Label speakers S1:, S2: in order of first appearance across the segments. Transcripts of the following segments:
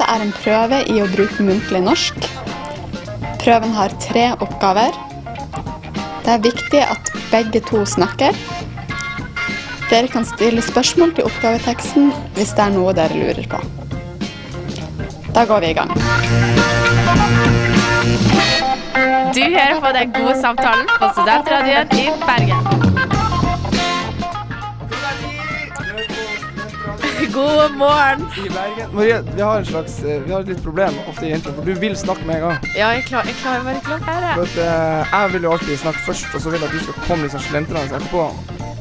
S1: prøve i å bruke muntlig norsk. Prøven har tre oppgaver. Det er viktig at begge to snakker. Dere kan stille spørsmål til oppgaveteksten hvis det er noe dere lurer på. Da går vi i gang.
S2: Du hører på Den gode samtalen på Studentradioen i Bergen. God morgen.
S3: I Bergen. Marie, vi har, en slags, eh, vi har et litt problem ofte i intro, for du vil snakke med en gang.
S2: Ja, jeg, klar, jeg klarer bare ikke å la
S3: For
S2: være.
S3: at, eh, jeg vil jo alltid snakke først, og så vil jeg at du skal komme liksom slentrende etterpå.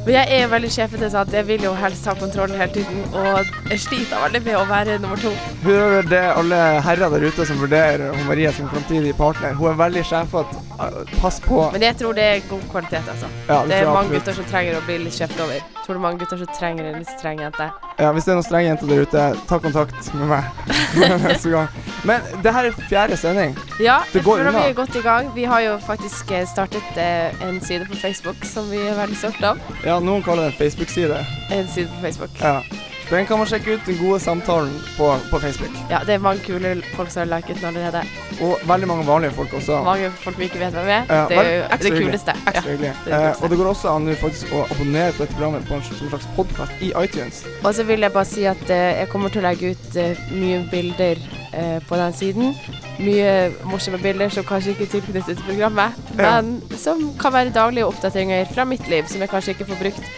S2: Men jeg er veldig sjefete, sant? jeg vil jo helst ta kontrollen hele tiden. Og jeg sliter veldig med å være nummer to.
S3: Hører det alle herrer der ute som vurderer hun Marie som framtidig partner? Hun er veldig sjefete. Eh, Pass på.
S2: Men jeg tror det er god kvalitet, altså.
S3: Ja, det
S2: Det er
S3: tror jeg
S2: mange
S3: absolutt.
S2: gutter som trenger å bli litt kjeft over. Tror du mange gutter som trenger en litt streng jente?
S3: Ja, hvis det er noen strenge jenter der ute, ta kontakt med meg neste gang. Men det her er fjerde sending.
S2: Ja,
S3: Det
S2: jeg
S3: går
S2: føler
S3: unna.
S2: vi er godt i gang. Vi har jo faktisk eh, startet eh, en side på Facebook som vi er veldig stolte av.
S3: Ja, noen kaller det en Facebook-side.
S2: En side på Facebook.
S3: Ja. Den kan man sjekke ut, den gode samtalen på, på Facebook.
S2: Ja, det er mange kule folk som har liket den allerede.
S3: Og veldig mange vanlige folk også.
S2: Mange folk vi ikke vet hvem er.
S3: Ja,
S2: det
S3: vel,
S2: er jo
S3: ekstra
S2: det
S3: hyggelig.
S2: kuleste. Ja.
S3: Ekstra hyggelig.
S2: det er det
S3: Eh,
S2: beste.
S3: og det går også an nå faktisk å abonnere på dette programmet på en slags, som en slags podkast i iTunes.
S2: Og så vil jeg bare si at eh, jeg kommer til å legge ut eh, mye bilder eh, på den siden. Mye morsomme bilder som kanskje ikke er tilknyttet til programmet,
S3: Ja.
S2: men som kan være daglige oppdateringer fra mitt liv som jeg kanskje ikke får brukt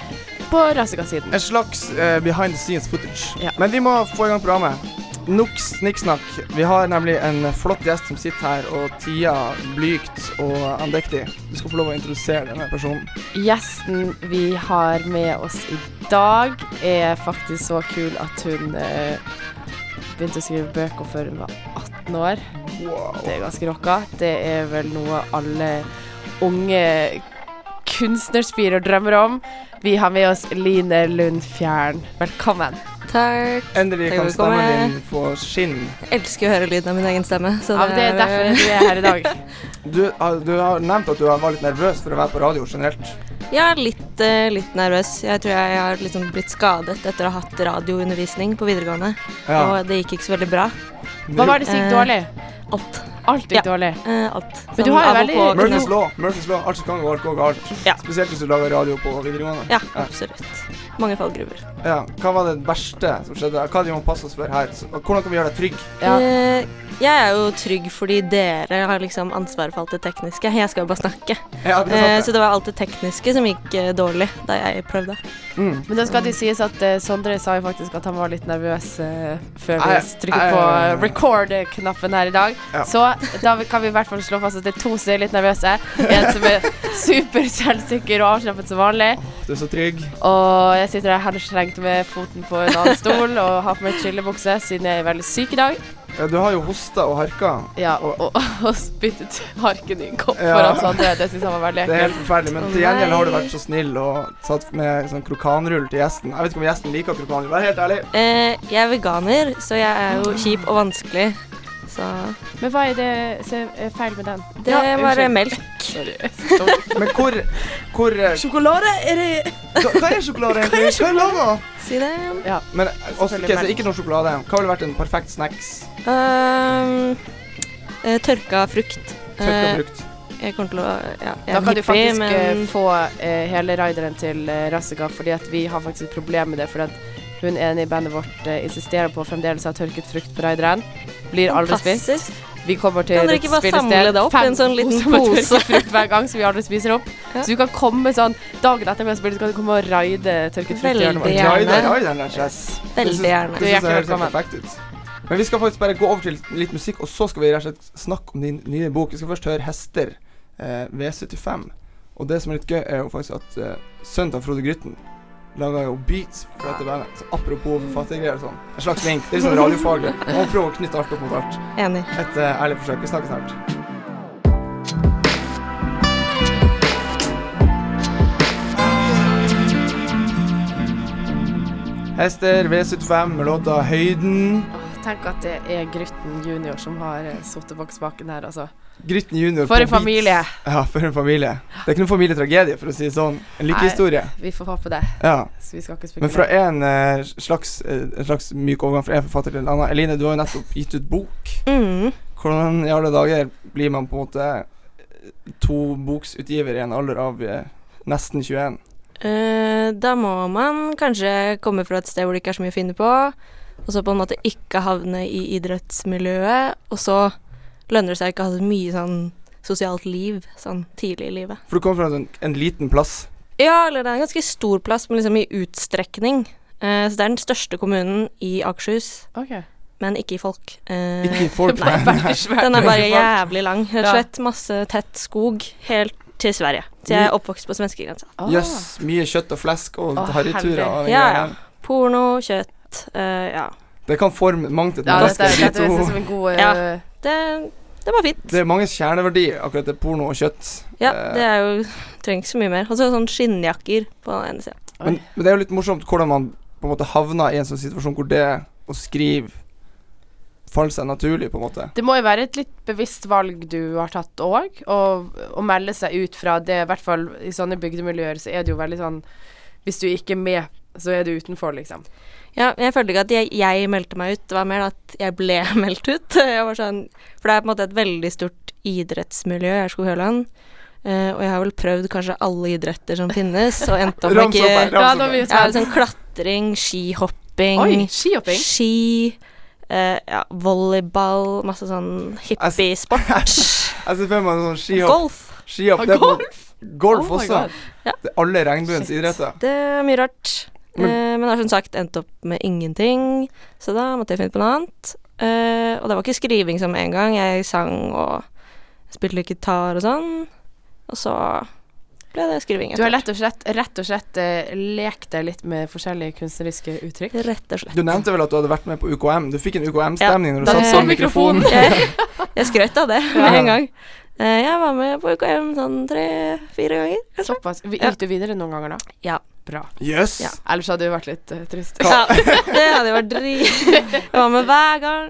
S2: på Rassika-siden.
S3: En slags eh, behind the scenes footage.
S2: Ja.
S3: Men vi må få i gang programmet. Nok snikksnakk. Vi har nemlig en flott gjest som sitter her, og tida blygt og andektig. Du skal få lov å introdusere denne personen.
S2: Gjesten vi har med oss i dag, er faktisk så kul at hun eh, begynte å skrive bøker før hun var 18 år.
S3: Wow.
S2: Det er ganske rocka. Det er vel noe alle unge kunstnerspirer drømmer om. Vi har med oss Line Lund Fjern. Velkommen.
S4: Takk.
S3: Endelig
S4: Takk
S3: kan
S4: for at du kom,
S3: stemmen
S4: eh.
S3: din få skinn.
S4: Jeg elsker å høre lyden av min egen stemme. Så
S2: Ja, men det er derfor du er her i dag.
S3: Du, har- du har nevnt at du var litt nervøs for å være på radio generelt.
S4: Jeg er litt, eh, litt nervøs. Jeg tror jeg har liksom blitt skadet etter å ha hatt radioundervisning på videregående. Og det gikk ikke så veldig bra.
S2: Hva var det som gikk dårlig?
S4: Alt.
S2: Alt gikk dårlig.
S4: Eh, alt.
S2: Men du
S4: Sånn
S2: har jo
S4: av og
S2: veldig-
S4: på kunne-
S3: Murphys law. Murphys law. Alt som kan gå galt, går galt.
S4: Ja.
S3: Spesielt hvis du lager radio på videregående.
S4: Ja, absolutt. Mange fallgruver.
S3: Ja, Hva var det verste som skjedde? Hva er det vi må passe oss for her? Så- og Hvordan kan vi gjøre deg trygg?
S2: Ja.
S4: Eh, jeg er jo trygg fordi dere har liksom ansvaret for alt det tekniske. Jeg skal jo bare snakke.
S3: Ja, det
S4: Eh,
S3: er sant.
S4: så
S3: det.
S4: det var alt det tekniske som gikk eh, dårlig da jeg prøvde.
S3: Mm.
S2: Men da skal det jo sies at eh, Sondre sa jo faktisk at han var litt nervøs eh, før vi
S3: Jeg-
S2: trykket på
S3: jeg-
S2: record-knappen her i dag.
S3: Ja.
S2: Så da kan vi i hvert fall slå fast at det er to som er litt nervøse. En som er super selvsikker og avslappet som vanlig.
S3: Du er så trygg.
S2: Og jeg sitter her henslengt med foten på en annen stol og har på meg chillebukse siden jeg er veldig syk i dag.
S3: Ja, du har jo hosta og harka.
S2: Ja, og, og, og spyttet harken i en kopp
S3: Ja.
S2: foran Sondre. Det syns han var veldig
S3: Det er helt
S2: ekkelt.
S3: forferdelig, men
S4: Å,
S3: til gjengjeld har du
S4: nei.
S3: vært så snill og satt med sånn krokanrull til gjesten. Jeg vet ikke om gjesten liker krokanrull. Vær helt ærlig.
S4: Eh, jeg er veganer, så jeg er jo kjip og vanskelig. Så
S2: Men hva er det som er feil med den?
S4: det
S2: Ja,
S4: var eh,
S2: unnskyld.
S4: melk.
S2: Sorry. jeg er så dum.
S3: Men hvor Hvor eh,
S4: Sjokolade? Er det
S3: Hva hva er sjokolade egentlig? Hva er sjokolade?
S4: Si det.
S2: Ja.
S3: Men eh, også,
S2: Selvfølgelig
S3: ok, så
S2: melk.
S3: ikke noe sjokolade. Hva ville vært en perfekt snacks?
S4: Ehm, eh, tørka frukt.
S3: Tørka
S4: Eh,
S3: frukt.
S4: jeg kommer til å ja, Jeg
S2: Da
S4: er
S2: kan du
S4: hippie,
S2: faktisk eh,
S4: men
S2: få eh, hele rideren til eh, Rassika, fordi at vi har faktisk et problem med det. Fordi at hun ene i bandet vårt eh, insisterer på fremdeles å ha tørket frukt på rideren. Blir aldri spist.
S4: fantastisk.
S2: Vi kommer til
S4: Kan dere
S2: et
S4: ikke bare
S2: spillested.
S4: samle det opp i
S2: Fem
S4: en sånn liten
S2: poser med
S4: pose?
S2: tørket frukt hver gang som vi aldri spiser opp.
S4: Ja.
S2: Så du kan komme sånn dagen etter vi har spilt, så kan du komme og raide tørket frukt. i hjørnet vårt.
S4: Veldig.
S3: Rideren,
S4: gjerne.
S3: rideren, rett og slett. Det
S4: Veldig
S3: syns-
S4: gjerne.
S2: Du er
S3: Det syns jeg
S2: hjertelig
S3: høres helt perfekt ut. Men vi skal faktisk bare gå over til litt musikk, og så skal vi rett og slett snakke om din nye bok. Vi skal først høre 'Hester' eh, V75. Og det som er litt gøy, er jo faktisk at eh, sønnen til Frode Grytten laga jo beats for dette bandet. Så apropos forfattergreier og sånn. En slags link. Det er litt sånn radiofaglig. Man prøver å knytte alt opp mot alt.
S4: Enig.
S3: Et eh, ærlig forsøk. Vi snakkes snart. Hester V75 med låta 'Høyden'.
S2: Tenk at det er Grytten junior som har eh, sittet bak spaken her, altså.
S3: Grytten junior
S2: For
S3: på
S2: en familie.
S3: Beats. Ja, for en familie. Det er ikke noen familietragedie, for å si det sånn. En lykkehistorie.
S2: Vi får håpe det.
S3: Ja.
S2: Så vi skal ikke
S3: Men fra
S2: spekulere.
S3: en eh, slags, eh, en slags myk overgang fra en forfatter til en annen. Eline, du har jo nettopp gitt ut bok.
S4: Mm.
S3: Hvordan i alle dager blir man på en måte eh, to boksutgiver i en alder av eh, nesten 21?
S4: Eh, da må man kanskje komme fra et sted hvor det ikke er så mye å finne på, og så på en måte ikke havne i idrettsmiljøet, og så lønner det seg ikke å ha så mye sånn sosialt liv sånn tidlig i livet.
S3: For du kommer fra en, en liten plass.
S4: Ja, eller det er en ganske stor plass, men liksom i utstrekning. Eh, så det er den største kommunen i Akershus,
S2: Ok.
S4: men ikke i folk. Eh,
S3: Ikke i folk,
S4: nei,
S3: men
S4: Den er bare jævlig lang. Rett
S2: Ja.
S4: og slett masse tett skog helt til Sverige. Så
S3: Mm.
S4: jeg er oppvokst på svenskegrensa.
S2: Ah,
S3: jøss, mye kjøtt og flesk og
S2: Å,
S3: harryturer. og den
S4: Ja,
S3: greia.
S4: Porno, kjøtt, eh, ja.
S3: Det kan forme mangt et
S2: Ja,
S3: menneske.
S2: dette,
S3: de
S2: dette
S3: to.
S2: synes jeg er en god eh,
S4: Ja. Det, det var fint.
S3: Det er mange kjerneverdier, akkurat det porno og kjøtt.
S4: Ja,
S3: Eh,
S4: det er jo Trenger ikke så mye mer. Og så sånn skinnjakker på den ene sida.
S3: men, men det er jo litt morsomt hvordan man på en måte havna i en sånn situasjon hvor det å skrive faller seg naturlig, på en måte.
S2: Det må jo være et litt bevisst valg du har tatt òg, å melde seg ut fra det. I hvert fall i sånne bygdemiljøer så er det jo veldig sånn Hvis du ikke er med, så er du utenfor, liksom.
S4: Ja, men jeg følte ikke at jeg, jeg meldte meg ut, det var mer at jeg ble meldt ut. Jeg var sånn, for det er på en måte et veldig stort idrettsmiljø i Aurskog-Høland. eh, og jeg har vel prøvd kanskje alle idretter som finnes, og endte opp med
S3: Rams opp her,
S4: ikke
S3: rams
S2: Ja,
S3: opp
S2: da blir
S3: her.
S2: vi
S4: Ja,
S2: tatt.
S4: liksom klatring, skihopping,
S2: Oi, skihopping.
S4: ski eh, ja, volleyball, masse sånn hippiesport.
S3: Jeg ser for meg en sånn Altså, skihopp.
S4: Golf.
S3: skihopp
S2: Ah,
S3: det er på- golf
S2: Oh my
S3: også.
S2: God.
S3: Det er alle regnbuens
S2: Shit.
S3: idretter.
S4: Det er mye rart.
S3: Men-
S4: Men, eh, men har som sagt endt opp med ingenting, så da måtte jeg finne på noe annet. Eh, og det var ikke skriving som en gang. Jeg sang og spilte litt gitar og sånn. Og så ble det skriving.
S2: Du har
S4: etter
S2: rett og slett, rett og slett eh, lekt deg litt med forskjellige kunstneriske uttrykk.
S4: hvert. Rett og slett.
S3: Du nevnte vel at du hadde vært med på UKM. Du fikk en UKM-stemning når du
S4: da-
S3: satt sånn
S4: eh,
S3: mikrofon.
S4: Jeg, jeg skrøt av det med
S3: Ja.
S4: en gang. Eh, jeg var med på UKM sånn tre-fire ganger.
S2: Såpass. Vi-
S4: Ja.
S2: Gikk du videre noen ganger, da?
S4: Ja.
S2: Bra.
S3: Jøss.
S4: Ja.
S2: Ellers hadde det vært litt eh, trist.
S4: Ja, det hadde jo vært drit. Jeg var med hver gang.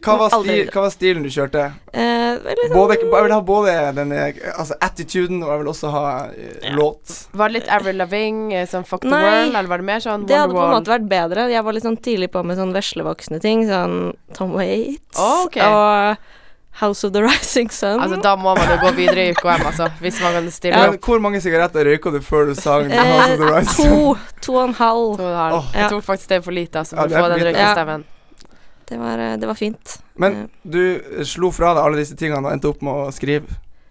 S3: Hva, var
S4: Aldri.
S3: stil- hva var stilen du kjørte?
S4: Eh, det var litt
S3: Både,
S4: sånn-
S3: jeg vil ha både den eh, altså attituden, og jeg vil også ha eh, låt.
S2: Var det litt Avril Lavigne, eh, sånn Fuck the
S4: Nei.
S2: World, eller var det mer sånn
S4: Det hadde på en
S2: Wonderwall?
S4: måte vært bedre. Jeg var litt sånn tidlig på med sånn veslevoksne ting, sånn Tom Waits
S2: Å, ok.
S4: og House of the Rising Sun.
S2: Altså, da må man jo gå videre i UKM, altså. Hvis man kan stille
S3: Men
S2: opp.
S3: hvor mange sigaretter røyka du før du sang
S4: Eh,
S3: House of the Rising?
S4: to, to og en halv.
S2: Så da-
S3: Åh.
S2: Jeg
S4: Ja.
S2: tok faktisk det for lite, altså,
S3: Ja,
S2: for
S3: det
S2: å
S3: er
S2: få
S3: for
S2: den
S3: lite.
S2: røykestemmen.
S4: Det var, eh, det var fint.
S3: Men
S4: Eh,
S3: du eh, slo fra deg alle disse tingene og endte opp med å skrive.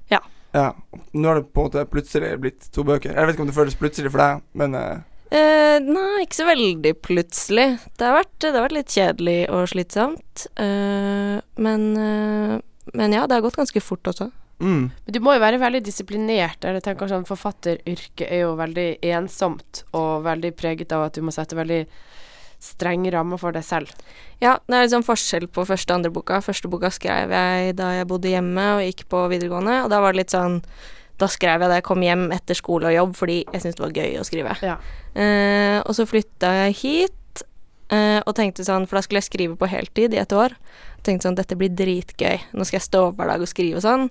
S4: Ja.
S3: Ja. Nå har det på en måte plutselig blitt to bøker. Jeg vet ikke om det føles plutselig for deg, men eh,
S4: eh, nei, ikke så veldig plutselig. Det har vært, det har vært litt kjedelig og slitsomt. eh, men, eh, men ja, det har gått ganske fort også.
S3: mm.
S2: Men du må jo være veldig disiplinert. Eller jeg tenker sånn Forfatteryrket er jo veldig ensomt, og veldig preget av at du må sette veldig strenge rammer for deg selv.
S4: Ja, det er liksom forskjell på første og andre boka. Første boka skrev jeg da jeg bodde hjemme og gikk på videregående, og da var det litt sånn Da skrev jeg da jeg kom hjem etter skole og jobb, fordi jeg syntes det var gøy å skrive.
S2: Ja.
S4: Eh, og så flytta jeg hit eh, og tenkte sånn, for da skulle jeg skrive på heltid i et år. Tenkte sånn, dette blir dritgøy. Nå skal jeg stå opp hver dag og skrive og sånn.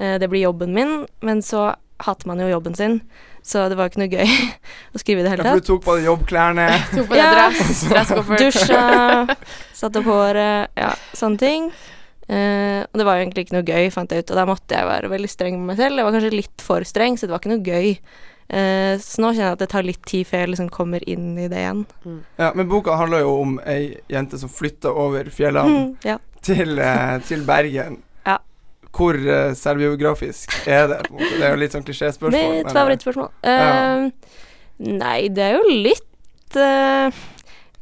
S4: Eh, det blir jobben min, men så hater man jo jobben sin, så det var jo ikke noe gøy å skrive i
S3: Ja,
S4: det hele
S3: for
S4: tatt.
S3: du tok på deg jobbklærne.
S2: Tok på deg
S4: Ja.
S2: dress, dresskoffert.
S4: Dusja, satte opp håret, ja, sånne ting. Eh, og det var jo egentlig ikke noe gøy, fant jeg ut, og da måtte jeg være veldig streng med meg selv. Jeg var kanskje litt for streng, så det var ikke noe gøy. Eh, så nå kjenner jeg at det tar litt tid før jeg liksom kommer inn i det igjen.
S3: Ja, men boka handler jo om ei jente som flytta over fjellene
S4: Ja.
S3: til, eh, til Bergen.
S4: Mm. Ja.
S3: Hvor eh, selvbiografisk er det? på en måte? Det er jo litt sånn klisjéspørsmål.
S4: Mitt
S3: men,
S4: favorittspørsmål.
S3: Ja.
S4: Eh, Nei, det er jo litt eh,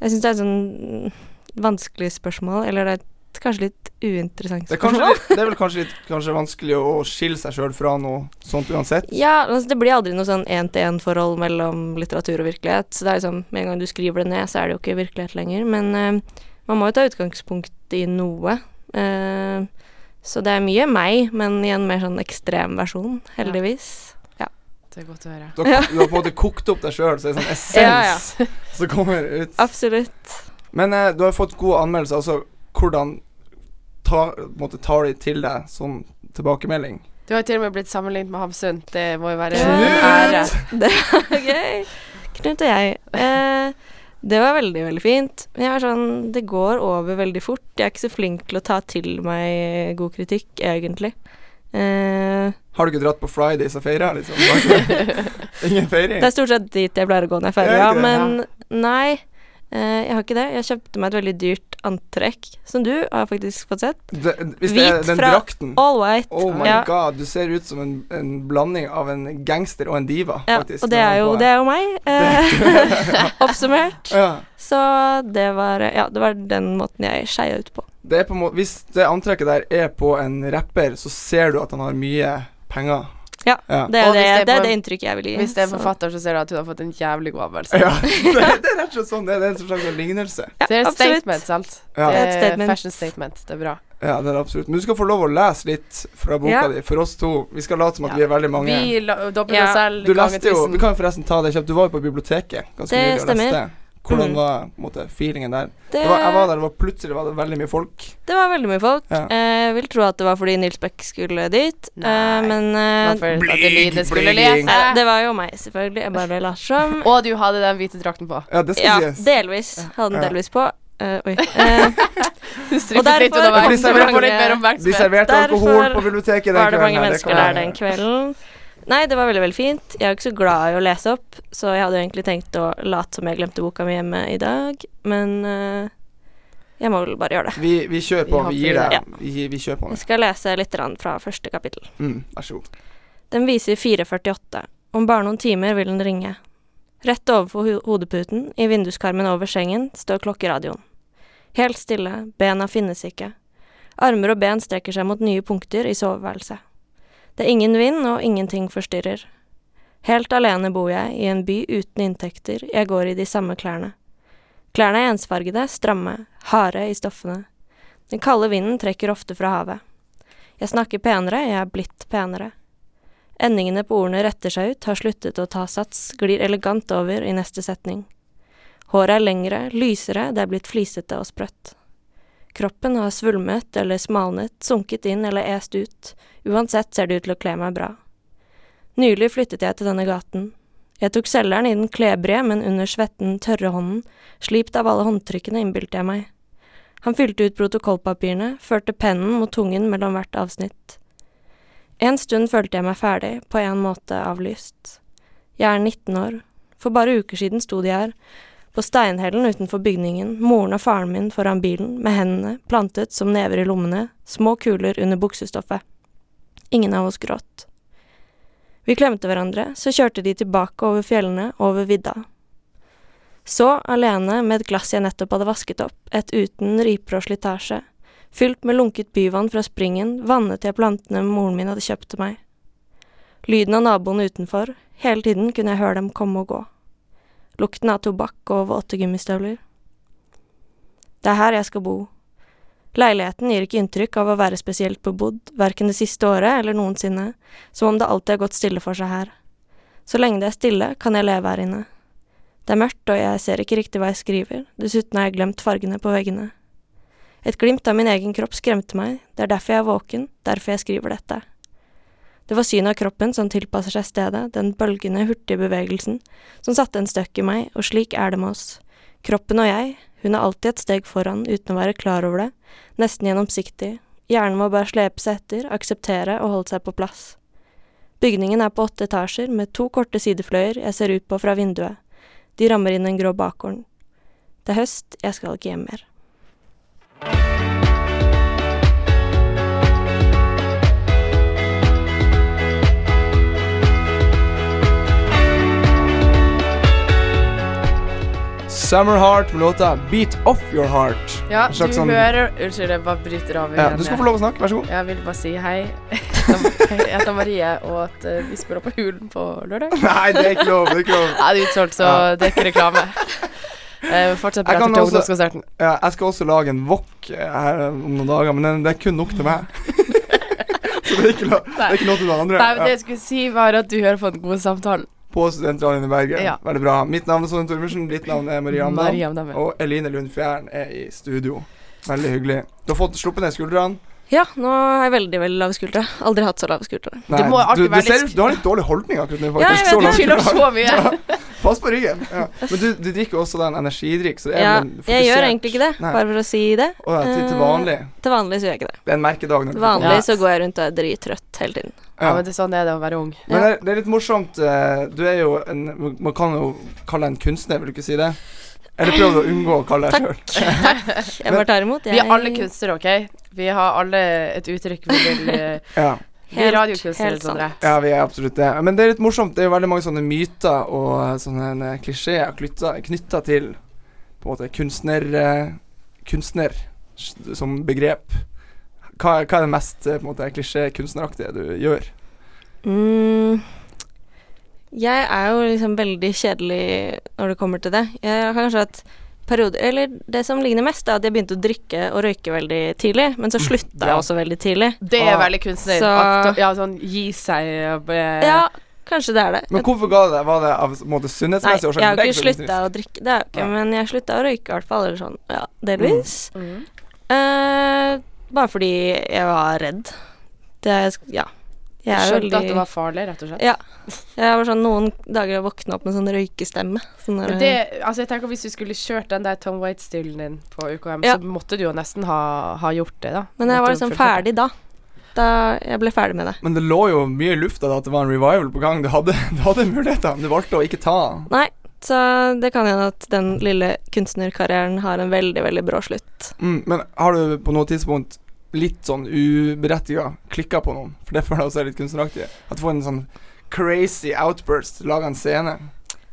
S4: Jeg syns det er et sånn vanskelig spørsmål, eller det er et kanskje litt uinteressant
S3: eh, det, er
S4: spørsmål.
S3: kanskje litt, det er vel kanskje litt kanskje vanskelig å skille seg sjøl fra noe sånt uansett.
S4: Ja, altså det blir aldri noe sånn én-til-én-forhold mellom litteratur og virkelighet. Så det er liksom, Med en gang du skriver det ned, så er det jo ikke virkelighet lenger. Men eh, man må jo ta utgangspunkt i noe. Eh, så det er mye meg, men i en mer sånn ekstrem versjon, heldigvis.
S2: Det er godt å høre.
S3: Du har, du har på en måte kokt opp deg sjøl, så det er sånn essens
S4: Ja, ja.
S3: som kommer ut.
S4: Absolutt.
S3: Men eh, du har fått gode anmeldelser. Altså, hvordan ta, på en måte, tar de til deg som tilbakemelding?
S2: Du har jo til og med blitt sammenlignet med Hamsun. Det må jo være
S4: Knut!
S2: en ære.
S4: Det er gøy. Knut og jeg. Eh, det var veldig, veldig fint. Men jeg er sånn, det går over veldig fort. Jeg er ikke så flink til å ta til meg god kritikk, egentlig. Eh,
S3: Har du ikke dratt på Fridays og feira, liksom? Ingen feiring?
S4: det er stort sett dit jeg pleier å gå når jeg er ferdig,
S3: Ja,
S4: ja,
S3: ikke det?
S4: men nei. Eh, jeg har ikke det. Jeg kjøpte meg et veldig dyrt antrekk, som du har faktisk fått sett.
S3: Det, hvis det er
S4: Hvit
S3: den
S4: fra-
S3: drakten
S4: All white.
S3: Oh my
S4: ja.
S3: god, du ser ut som en, en blanding av en gangster og en diva,
S4: Ja,
S3: faktisk.
S4: og det er jo, det er jo meg, eh, oppsummert.
S3: ja.
S4: Så det var, ja, det var den måten jeg skeia ut på.
S3: det er på en måte, Hvis det antrekket der er på en rapper, så ser du at han har mye penger.
S4: Ja,
S3: Ja.
S4: Det er,
S2: Og
S4: det,
S2: hvis det er
S4: det,
S2: på
S4: er
S2: en-
S4: det inntrykket jeg vil gi.
S2: Hvis det er en
S4: så-
S2: forfatter, så ser du at hun har fått en jævlig god avgjørelse.
S3: Ja, det, det er rett og slett sånn. Det, det er en slags lignelse.
S4: Ja,
S2: Det er et
S4: absolutt.
S2: statement, sant? Det
S3: Ja.
S4: Det er et
S2: er
S4: statement.
S2: Fashion statement. Det er bra.
S3: Ja, det er det absolutt. Men du skal få lov å lese litt fra boka
S4: Ja.
S3: di, for oss to. Vi skal late som at
S2: Ja.
S3: vi er veldig mange.
S2: Vi la- dobler
S4: Ja.
S2: oss selv
S3: Du
S2: ganger
S3: leste jo Vi
S2: tusen.
S3: kan jo forresten ta det kjapt. Du var jo på biblioteket ganske
S4: Det
S3: nylig og leste.
S4: stemmer.
S3: Hvordan
S4: Mm.
S3: var på en måte, feelingen der?
S4: Det,
S3: Det var, jeg var der, det var plutselig var det veldig mye folk.
S4: det var veldig mye folk.
S3: Ja.
S4: Eh, jeg vil tro at det var fordi Nils Bæk skulle dit,
S2: Nei.
S4: eh, men
S2: Det var
S4: eh,
S2: for at Eline skulle
S3: bling.
S2: lese.
S4: eh, det var jo meg, selvfølgelig. Jeg bare Larsson.
S2: Og du hadde den hvite drakten på.
S3: Ja, det skal
S4: Ja,
S3: sies.
S4: delvis. Hadde den
S3: Ja.
S4: delvis på. Eh, oi. Eh,
S2: Du strikket
S4: derfor-
S2: litt underveis.
S3: Derfor-
S2: for å få litt mer
S3: De
S2: oppmerksomhet.
S3: serverte
S4: Derfor
S3: alkohol på biblioteket den
S4: var det mange
S3: her,
S4: mennesker
S3: kan jeg-
S4: der den kvelden. Nei, det var veldig, veldig fint. Jeg er jo ikke så glad i å lese opp, så jeg hadde jo egentlig tenkt å late som jeg glemte boka mi hjemme i dag, men eh, jeg må vel bare gjøre det.
S3: Vi, vi kjører på.
S2: Vi
S3: Vi gir
S2: har-
S3: deg.
S4: ja.
S3: Vi, gir- vi kjører på.
S4: Jeg skal lese litt grann fra første kapittel.
S3: Mm, vær så god.
S4: Den viser 4.48. Om bare noen timer vil den ringe. Rett overfor ho hodeputen, i vinduskarmen over sengen, står klokkeradioen. Helt stille, bena finnes ikke. Armer og ben strekker seg mot nye punkter i soveværelset. Det er ingen vind, og ingenting forstyrrer. Helt alene bor jeg, i en by uten inntekter, jeg går i de samme klærne. Klærne er ensfargede, stramme, harde i stoffene. Den kalde vinden trekker ofte fra havet. Jeg snakker penere, jeg er blitt penere. Endingene på ordene retter seg ut, har sluttet å ta sats, glir elegant over i neste setning. Håret er lengre, lysere, det er blitt flisete og sprøtt. Kroppen har svulmet eller smalnet, sunket inn eller est ut, uansett ser det ut til å kle meg bra. Nylig flyttet jeg til denne gaten. Jeg tok selgeren i den klebrige, men under svetten, tørre hånden, slipt av alle håndtrykkene, innbilte jeg meg. Han fylte ut protokollpapirene, førte pennen mot tungen mellom hvert avsnitt. En stund følte jeg meg ferdig, på en måte avlyst. Jeg er 19 år. For bare uker siden sto de her, på steinhellen utenfor bygningen, moren og faren min foran bilen, med hendene plantet som never i lommene, små kuler under buksestoffet. Ingen av oss gråt. Vi klemte hverandre, så kjørte de tilbake over fjellene, over vidda. Så, alene med et glass jeg nettopp hadde vasket opp, et uten riper og slitasje, Fylt med lunket byvann fra springen vannet jeg plantene moren min hadde kjøpt til meg. Lyden av naboene utenfor, hele tiden kunne jeg høre dem komme og gå. Lukten av tobakk og våte gummistøvler. Det er her jeg skal bo. Leiligheten gir ikke inntrykk av å være spesielt bebodd, verken det siste året eller noensinne, som om det alltid har gått stille for seg her. Så lenge det er stille, kan jeg leve her inne. Det er mørkt, og jeg ser ikke riktig hva jeg skriver, dessuten har jeg glemt fargene på veggene. Et glimt av min egen kropp skremte meg, det er derfor jeg er våken, derfor jeg skriver dette. Det var synet av kroppen som tilpasser seg stedet, den bølgende, hurtige bevegelsen, som satte en støkk i meg, og slik er det med oss. Kroppen og jeg, hun er alltid et steg foran uten å være klar over det, nesten gjennomsiktig, hjernen må bare slepe seg etter, akseptere og holde seg på plass. Bygningen er på åtte etasjer, med to korte sidefløyer jeg ser ut på fra vinduet, de rammer inn den grå bakgården. Det er høst, jeg skal ikke hjem mer.
S3: Summer Heart med låta Beat Off Your Heart.
S2: Ja,
S3: En
S2: du
S3: slags sånn-
S2: hører Unnskyld, jeg bare bryter av
S3: Ja, du skal få lov å snakke, vær så god.
S2: Jeg vil bare si hei. Jeg heter Marie, og at eh, vi spiller på Hulen på lørdag.
S3: Nei, det er ikke lov. Det er ikke lov.
S2: Ja, det er utsolgt, så det er ikke reklame. Eh, Fortsett
S3: Jeg
S2: på
S3: kan
S2: til
S3: også-
S2: ungdomskonserten.
S3: Ja, jeg skal også lage en wok eh, her om noen dager, men den- det er kun nok til meg. Så det er ikke lov, det er ikke lov til noen andre.
S2: Nei, men det
S3: Ja.
S2: jeg skulle si, var at du hører på den gode samtalen.
S3: På Studentradioen i Bergen.
S2: Ja.
S3: Veldig bra. Mitt navn er Sonja Tormersen, ditt navn er Marianne.
S2: Mariam Damme.
S3: Og Eline Lund Fjæren er i studio. Veldig hyggelig. Du har fått sluppet ned skuldrene.
S4: Ja, nå har jeg veldig veldig lave skuldre. Aldri hatt så lave skuldre.
S3: Nei,
S2: må alltid
S3: du, du,
S2: være
S3: ser,
S2: litt-
S3: du har litt dårlig holdning akkurat nå,
S4: Ja,
S3: faktisk.
S4: jeg vet, jeg
S2: Skylder
S3: langt.
S2: så mye.
S3: Pass på ryggen. Ja. Men du, du drikker jo også den energidrikk, så det er
S4: Ja,
S3: vel en
S4: jeg gjør
S3: fokusert-
S4: egentlig ikke det,
S3: Nei.
S4: bare for å si det.
S3: Å, ja, til, til vanlig.
S4: Til vanlig så gjør jeg ikke det.
S3: Det er en merkedag. Når
S4: Til
S3: du får-
S4: vanlig
S2: Ja.
S4: så går jeg rundt og er drittrøtt hele tiden.
S2: Ja,
S3: Ja.
S2: men det, sånn er det å være ung.
S3: Men det er, det er litt morsomt. eh, Du er jo en Man kan jo kalle deg en kunstner, vil du ikke si det? Eller prøv å unngå å kalle deg sjøl.
S4: Jeg bare tar imot.
S2: Vi
S4: Jeg
S2: er alle kunstnere, OK? Vi har alle et uttrykk vi vil eh,
S3: Ja.
S2: Vi er
S4: Helt-
S2: radiokunstnere,
S4: helt sant.
S2: Sondre.
S3: ja, vi er absolutt det. Men det er litt morsomt. Det er jo veldig mange sånne myter og eh, sånne eh, klisjeer knytta til på en måte kunstner... eh, Kunstner s- som begrep. Hva, hva er det mest eh, på en måte klisjé-kunstneraktige du gjør?
S4: Mm, jeg er jo liksom veldig kjedelig når det kommer til det. Jeg har kanskje hatt perioder Eller det som ligner mest, er at jeg begynte å drikke og røyke veldig tidlig, men så
S3: Mm.
S4: slutta jeg
S3: bra.
S4: også veldig tidlig.
S2: Det er
S3: Ah.
S2: veldig kunstner.
S4: Så-
S2: At, ja, sånn gi seg og eh,
S4: Ja, kanskje det er det.
S3: Men hvorfor ga det Var det av på en måte
S4: Nei,
S3: sunnhetsmessige
S4: Altså, jeg
S3: årsaker?
S4: har
S3: Det er
S4: ikke
S3: så trist.
S4: slutta å drikke, det har jeg ikke,
S3: Nei.
S4: men jeg slutta å røyke i hvert fall, eller sånn, ja, delvis.
S2: Mm.
S4: Eh, bare fordi jeg var redd. Det er, ja. Jeg er jo
S2: Skjønte at
S4: veldig-
S2: det var farlig, rett og slett.
S4: Ja. Jeg var sånn noen dager jeg våkna opp med sånn røykestemme. Sånn der,
S2: Men det, altså jeg tenker Hvis du skulle kjørt den der Tom Waite-stilen din på UKM,
S4: Ja.
S2: så måtte du jo nesten ha, ha gjort det, da.
S4: men jeg
S2: Måtte jo
S4: var liksom
S2: fullført det.
S4: ferdig da. Da jeg ble ferdig med det.
S3: Men det lå jo mye i lufta da at det var en revival på gang. Du hadde, du hadde muligheter, men du valgte å ikke ta den.
S4: Nei, så det kan hende at den lille kunstnerkarrieren har en veldig, veldig brå slutt.
S3: Mm, men har du på noe tidspunkt litt sånn uberettiga klikka på noen? For det føler jeg også er litt kunstneraktig. At du får en sånn crazy outburst, lager en scene.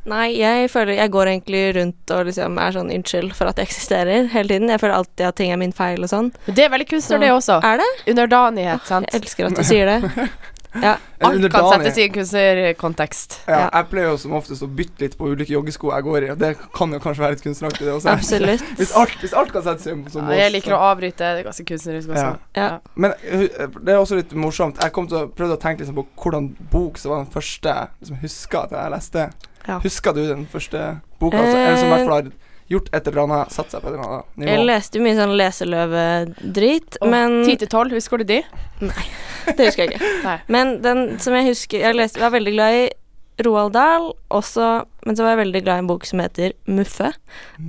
S4: Nei, jeg føler Jeg går egentlig rundt og liksom er sånn unnskyld for at jeg eksisterer hele tiden. Jeg føler alltid at ting er min feil og sånn.
S2: Men det er veldig kunstner,
S4: Så-
S2: det også.
S4: Er det?
S2: Underdanighet, sant.
S4: Jeg elsker at du sier det. Ja.
S3: En
S2: Alt kan
S3: underdanig.
S2: settes i en kunstnerkontekst.
S3: Ja,
S4: Ja.
S3: jeg pleier jo som oftest å bytte litt på ulike joggesko jeg går i, og det kan jo kanskje være litt kunstneraktig, det også.
S4: Absolutt.
S3: Hvis alt, hvis alt kan settes i en sånn
S2: Ja, jeg liker å avbryte. Det er ganske kunstnerisk også.
S3: Ja.
S4: Ja.
S3: Men uh, det er også litt morsomt. Jeg kom til å prøvde å tenke liksom, på hvordan bok som var den første som jeg husker at jeg leste.
S4: Ja.
S3: Husker du den første boka? Altså, eller som i hvert fall har gjort et eller annet, satt seg på et eller annet nivå?
S4: Jeg leste jo mye sånn leseløvedrit,
S2: Og
S4: men
S2: 10 til 12, husker du de?
S4: Det husker jeg ikke.
S2: Nei.
S4: Men den som jeg husker Jeg leste, var veldig glad i Roald Dahl, også, men så var jeg veldig glad i en bok som heter Muffe,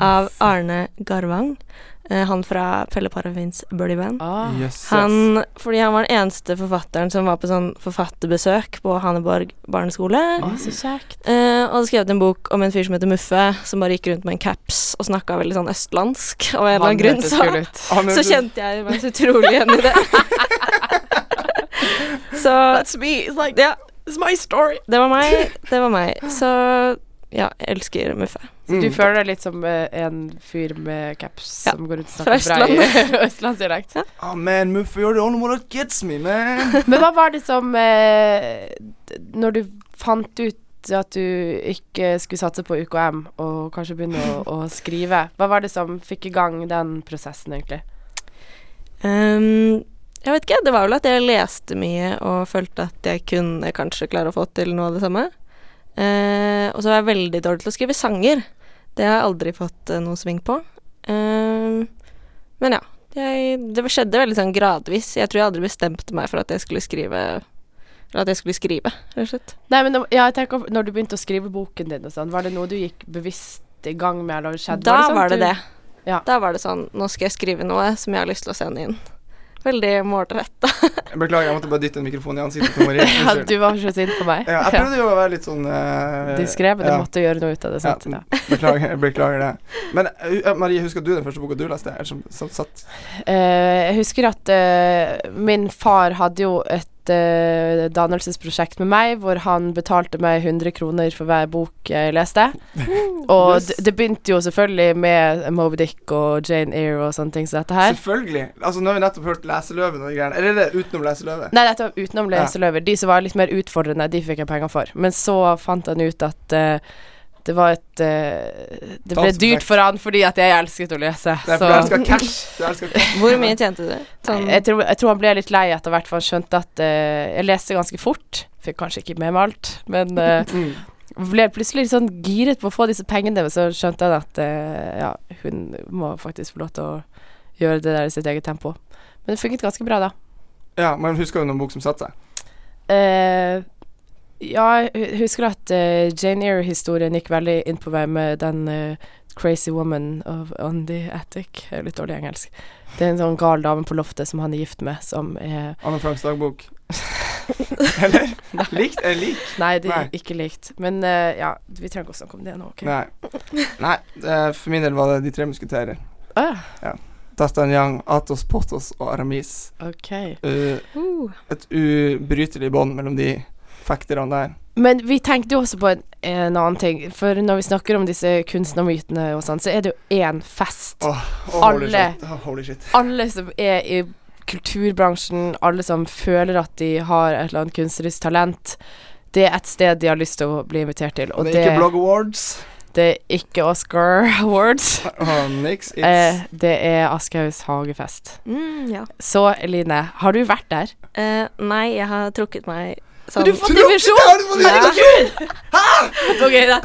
S4: av Arne Garvang. Eh, han fra Pelle Parafins Birdie-band.
S2: Ah.
S3: Jøsses.
S4: Han, fordi han var den eneste forfatteren som var på sånn forfatterbesøk på Hanneborg barneskole.
S2: Ah, så kjekt.
S4: Eh, og hadde skrevet en bok om en fyr som heter Muffe, som bare gikk rundt med en caps og snakka veldig sånn østlandsk. Og av en eller annen grunn så
S2: ut.
S3: Han er-
S4: så kjente jeg meg så utrolig igjen i det. så
S2: That's me. It's like,
S4: ja,
S2: it's my story.
S4: det var meg. Det var meg. Så ja, jeg elsker Muffe.
S2: Så du
S3: Mm.
S2: føler deg litt som eh, en fyr med caps
S4: Ja,
S2: som går rundt og
S4: fra
S2: snakker brei østlandsdialekt.
S3: Ah, man, Muffe, you're the only one that gets me, man.
S2: Men hva var det som eh, d- Når du fant ut at du ikke skulle satse på UKM, og kanskje begynne å, å skrive, hva var det som fikk i gang den prosessen, egentlig?
S4: Ehm, jeg vet ikke, det var vel at jeg leste mye og følte at jeg kunne kanskje klare å få til noe av det samme. Eh, og så var jeg veldig dårlig til å skrive sanger. Det har jeg aldri fått eh, noe sving på. Ehm, men ja, jeg, det skjedde veldig sånn gradvis. Jeg tror jeg aldri bestemte meg for at jeg skulle skrive Eller at jeg skulle skrive, rett og slett.
S2: Nei, men da- ja, jeg tenker, Når du begynte å skrive boken din, og sånn, var det noe du gikk bevisst i gang med? Eller skjedde?
S4: Da
S2: sånn
S4: var det
S2: du-
S4: det.
S2: Ja.
S4: Da var det sånn Nå skal jeg skrive noe som jeg har lyst til å sende inn. Veldig målretta.
S3: Beklager, jeg måtte bare dytte en mikrofon i ansiktet til Marie.
S2: Ja,
S3: Unnskyld.
S2: du var så sint på meg.
S3: Ja, jeg prøvde jo å være litt sånn uh,
S2: Diskré, men du
S3: ja.
S2: måtte gjøre noe ut av det.
S3: Ja,
S2: Sant? Ja.
S3: beklager, beklager det. Men eh, Marie, husker du den første boka du leste? Eller som, som satt
S2: Eh, jeg husker at eh, min far hadde jo et eh, dannelsesprosjekt med meg, hvor han betalte meg 100 kroner for hver bok jeg leste. Og
S3: yes.
S2: d- det begynte jo selvfølgelig med Moby Dick og Jane Eyre og sånne ting som dette her.
S3: Selvfølgelig. Altså, nå har vi nettopp hørt Leseløven og de greiene. Eller er det utenom Leseløven?
S2: Nei, dette var utenom leseløver. De som var litt mer utfordrende, de fikk jeg penger for. Men så fant han ut at eh, det var et eh, Det ble
S3: Talsprosjekt.
S2: dyrt for han fordi at jeg elsket å lese.
S3: Det er
S2: så-
S3: fordi jeg elsker cash. Du elsker cash.
S4: Hvor mye tjente du? Sånn-
S2: jeg, tror, jeg tror han ble litt lei etter hvert, for han skjønte at eh, Jeg leste ganske fort. Fikk kanskje ikke med meg alt, men eh,
S3: Mm.
S2: ble plutselig litt sånn giret på å få disse pengene, men så skjønte han at eh, ja, hun må faktisk få lov til å gjøre det der i sitt eget tempo. Men det funket ganske bra, da.
S3: Ja, men husker du noen bok som satte seg?
S2: Eh, ja, jeg hu- husker at eh, Jane Eyre-historien gikk veldig inn på meg med den eh, Crazy Woman of on the Attic. Jeg er litt dårlig i engelsk. Det er en sånn gal dame på loftet som han er gift med, som er
S3: Anne Franks dagbok. Eller? Likt er lik.
S2: Nei, det
S3: Nei.
S2: er ikke likt. Men eh, ja, vi trenger ikke å snakke om det nå, OK?
S3: Nei. Nei, eh, for min del var det De tre musketerer.
S2: Ah,
S3: D'Artagnan, Atos, Potos og Aramis.
S2: OK.
S3: Eh,
S4: Mm,
S3: et ubrytelig bånd mellom de fekterne der.
S2: Men vi tenkte jo også på en, en annen ting. For når vi snakker om disse kunstnermytene og sånn, så er det jo én fest.
S3: Å, holy
S2: Alle.
S3: shit. Å, holy shit.
S2: Alle som er i kulturbransjen, alle som føler at de har et eller annet kunstnerisk talent, det er et sted de har lyst til å bli invitert til. Og
S3: det er ikke Blog Awards.
S2: det er ikke Oscar Awards.
S3: Å, niks. It's
S2: Eh, det er Aschehougs hagefest.
S4: Mm, ja.
S2: Så Eline, har du vært der?
S4: Eh, nei, jeg har trukket meg sånn. som
S2: du fått
S3: Tror-
S2: divisjon?
S3: Har du fått divisjon?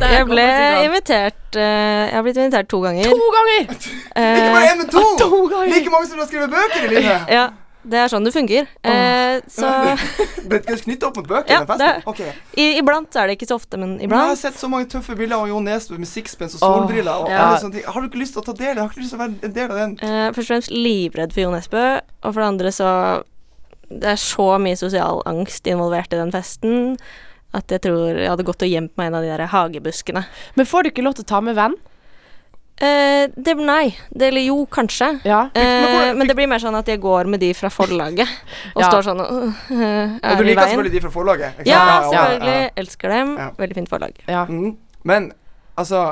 S4: Jeg ble invitert eh, Jeg har blitt invitert to ganger.
S2: To ganger!
S3: Ikke bare
S4: Eh,
S3: én, men to!
S2: To ganger!
S3: Like mange som du har skrevet bøker i livet.
S4: ja, det er sånn det fungerer. Eh, så
S3: Ble ikke knyttet opp mot bøker,
S4: Ja,
S3: den festen? Ok.
S4: i, iblant så er det ikke så ofte, men
S3: Men jeg har
S4: iblant.
S3: sett så mange tøffe bilder av Jon Nesbø med sixpence og
S2: Åh,
S3: solbriller. og
S4: ja.
S3: alle sånne ting. Har du ikke lyst til å ta del? Jeg har ikke lyst til å være en del av den.
S4: Eh, først og fremst livredd for Jo Nesbø, og for det andre så Det er så mye sosial angst involvert i den festen at jeg tror jeg hadde gått og gjemt meg i en av de der hagebuskene.
S2: Men får du ikke lov til å ta med venn?
S4: Eh, det, nei. Det, eller jo, kanskje.
S2: Ja.
S4: Eh, men det blir mer sånn at jeg går med de fra forlaget og
S2: Ja.
S4: står sånn og øh,
S3: Og
S4: er
S3: du
S4: i
S3: liker
S4: veien.
S3: selvfølgelig de fra forlaget? ikke sant?
S4: Ja,
S2: Ja, ja, ja.
S4: selvfølgelig. Elsker dem.
S3: Ja.
S4: Veldig fint forlag.
S2: ja.
S3: Mm. Men altså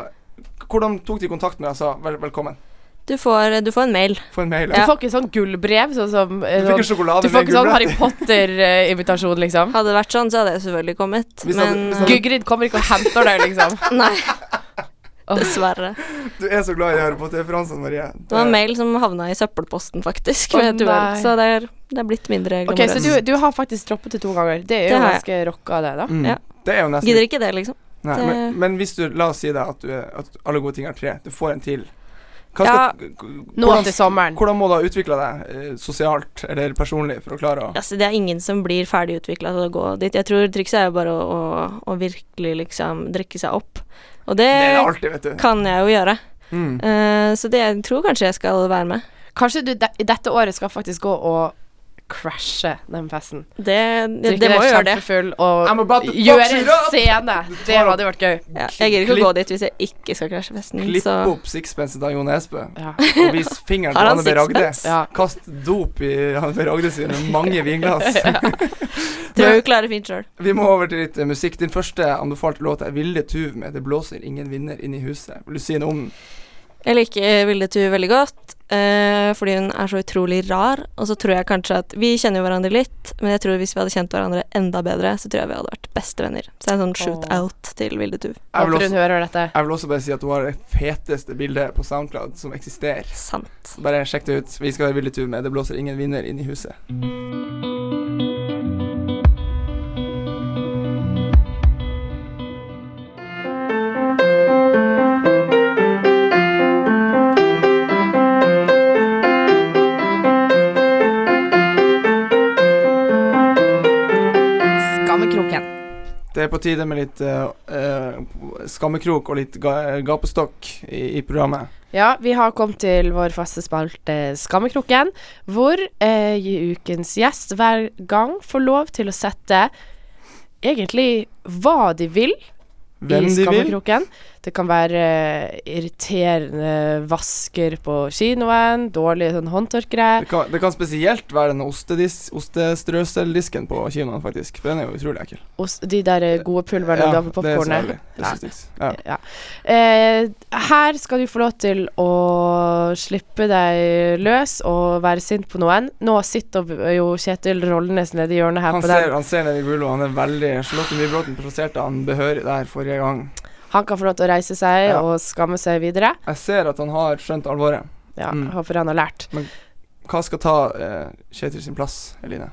S3: Hvordan tok de kontakt med deg og sa vel, 'velkommen'?
S4: Du får, du får en mail.
S3: Få en mail.
S2: Du
S3: Ja.
S2: får ikke sånn gullbrev, sånn som eh,
S3: Du fikk en
S2: sånn,
S3: sjokolade
S2: Du får
S3: med
S2: ikke sånn
S3: gulrøtter.
S2: Harry Potter-invitasjon, liksom?
S4: Hadde det vært sånn, så hadde jeg selvfølgelig kommet.
S3: Hvis
S4: men
S3: hadde- hvis hadde-
S2: Gygrid kommer ikke og henter deg, liksom.
S4: øh, Nei. Dessverre.
S3: Du er så glad i Harry Potter-referansene, Marie.
S4: Det var en mail som havna i søppelposten, faktisk.
S2: Å,
S4: ved et uhell,
S2: nei.
S4: så det er, det er blitt mindre
S2: Ok, Så
S4: glamorøst.
S2: du, du har faktisk droppet det to ganger. Det er
S4: Det
S2: jo
S4: har jeg.
S2: ganske rocka, det, da.
S3: Mm.
S4: Ja.
S3: Det er jo nesten
S4: Gidder ikke det, liksom.
S3: Nei,
S4: det-
S3: men, men hvis du La oss si deg at, du, er- at alle gode ting er tre. Du får en til. Hva
S4: Ja. sånn.
S3: skal, k- k-
S2: Nå
S3: hvordan,
S2: til sommeren.
S3: hvordan må du ha utvikla deg eh, sosialt eller personlig for å klare å
S4: Altså, det er ingen som blir ferdig utvikla til å gå dit. Jeg tror trikset er jo bare å, å, å virkelig liksom drikke seg opp. Og det,
S3: Det er det alltid, vet du.
S4: kan jeg jo gjøre.
S3: Mm.
S4: Eh, så det jeg tror kanskje jeg skal være med.
S2: Kanskje du de, i dette året skal faktisk gå og crashe den festen.
S4: Det, det,
S2: Drikke
S4: det må
S2: deg
S4: jo gjøre det.
S2: kjempefull
S3: I'm about to
S2: og
S3: fuck
S2: gjøre
S3: shit
S2: en
S3: up!
S2: scene. Det hadde vært gøy.
S4: Ja, jeg gidder ikke å gå dit hvis jeg ikke skal krasje festen.
S3: Klipp
S4: Så
S3: opp sixpencen til Jon Esbø
S2: Ja.
S3: og vis fingeren
S4: Har
S3: til
S4: han
S3: Anne B. Ragde.
S4: sixpence?
S2: Ja.
S3: Kast dop i Anne B. Ragde sine mange vinglass.
S4: tror jeg hun klarer fint sjøl.
S3: Vi må over til litt eh, musikk. Din første anbefalte låt er Vilde Tuv med 'Det blåser ingen vinner inn i huset'. Vil du si noe om den?
S4: Jeg liker eh, Vilde Tue veldig godt, eh, fordi hun er så utrolig rar. Og så tror jeg kanskje at Vi kjenner jo hverandre litt, men jeg tror hvis vi hadde kjent hverandre enda bedre, så tror jeg vi hadde vært bestevenner. Så det er en sånn shootout til Vilde Tue.
S3: Jeg vil,
S2: Håper hun
S3: også,
S2: hører dette.
S3: jeg vil også bare si at hun har det feteste bildet på SoundCloud som eksisterer.
S4: Sant.
S3: Så Bare sjekk det ut. Vi skal være Vilde Tuv med 'Det blåser ingen vinner inn i huset'.
S5: Skammekroken.
S3: Det er på tide med litt eh, eh, skammekrok og litt ga eh, gapestokk i, i programmet.
S2: Ja, vi har kommet til vår faste spalte Skammekroken, hvor eh, ukens gjest hver gang får lov til å sette egentlig hva de vil i
S3: Hvem de vil.
S2: Skammekroken. Det kan være eh, irriterende vasker på kinoen, dårlige sånn håndtørkere.
S3: Det kan, det kan spesielt være den ostedis- ostestrøseldisken på kinoen, faktisk. For den er jo utrolig ekkel.
S2: Ost, de der eh, gode pulverne du har på
S3: det er så
S2: popkornet.
S3: jævlig. Det synes jeg. Ja.
S2: Ja. Eh, her skal du få lov til å slippe deg løs og være sint på noen. Nå sitter jo Kjetil Rollenes nede i hjørnet her
S3: Han
S2: på den.
S3: ser, han ser ned i gulvet, og han er veldig Charlotte Nybråten plasserte han behørig der forrige gang.
S2: Han kan få lov til å reise seg
S3: Ja.
S2: og skamme seg videre.
S3: Jeg ser at han har skjønt alvoret.
S2: Ja,
S3: Mm.
S2: Håper han har lært.
S3: Hva skal ta eh, Kjetil sin plass, Eline?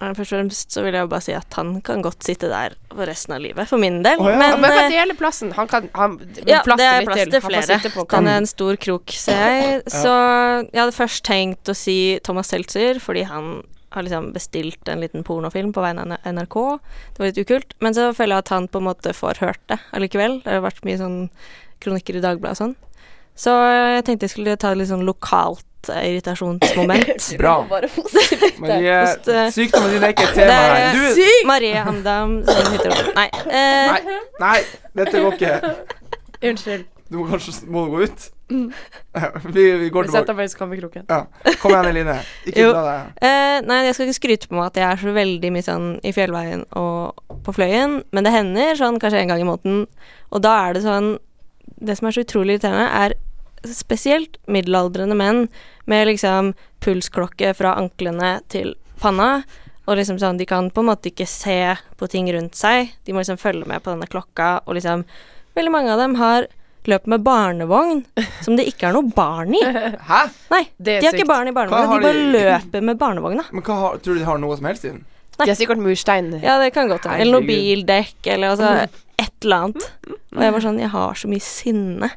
S4: Eh, Først og fremst så vil jeg jo bare si at han kan godt sitte der for resten av livet, for min del.
S3: Å ja.
S2: Men kan
S4: eh,
S2: dele plassen. Han kan han,
S4: ja,
S2: plass
S4: det er
S2: litt
S4: plass til
S2: Han får
S4: flere.
S2: sitte på
S4: Den
S2: kanten.
S4: er en stor krok, ser jeg. Så jeg hadde først tenkt å si Thomas Seltzer, fordi han har liksom bestilt en liten pornofilm på vegne av NRK. Det var litt ukult. Men så føler jeg at han på en måte får hørt det allikevel. Det har vært mye sånn kronikker i Dagbladet og sånn. Så jeg tenkte jeg skulle ta litt sånn lokalt eh, irritasjonsmoment.
S3: Bra.
S1: Bare positivt.
S3: Marie,
S4: Hos, eh,
S3: sykdommen din er ikke et tema
S4: Det
S3: her.
S4: er
S3: Du,
S4: Marie Amdam som heter Nei. eh,
S3: Nei, nei, dette går ikke.
S2: Unnskyld.
S3: Du må kanskje må du gå ut? Vi, vi går
S2: Vi setter
S3: tilbake.
S2: meg i skammekroken.
S3: Ja. Kom igjen, Eline. Ikke
S4: Jo.
S3: ta deg.
S4: Eh, nei, jeg skal ikke skryte på meg at jeg er så veldig mye sånn i fjellveien og på fløyen, men det hender sånn kanskje en gang i måneden. Og da er det sånn Det som er så utrolig irriterende, er spesielt middelaldrende menn med liksom pulsklokke fra anklene til panna. Og liksom sånn, de kan på en måte ikke se på ting rundt seg. De må liksom følge med på denne klokka, og liksom Veldig mange av dem har løp med barnevogn som det ikke er noe barn i.
S3: Hæ?
S4: Nei,
S2: Det
S4: de
S2: er
S4: har
S2: sykt.
S4: ikke barn i
S3: Hva
S4: barnevogna,
S3: har
S4: de bare
S3: de-
S4: løper med barnevogna.
S3: Men hva har, tror du de har noe som helst i den?
S2: De har sikkert murstein.
S4: Ja, det kan godt hende. Eller noe
S3: Herregud.
S4: bildekk, eller
S2: Mm.
S4: altså et eller annet. Og jeg var sånn Jeg har så mye sinne.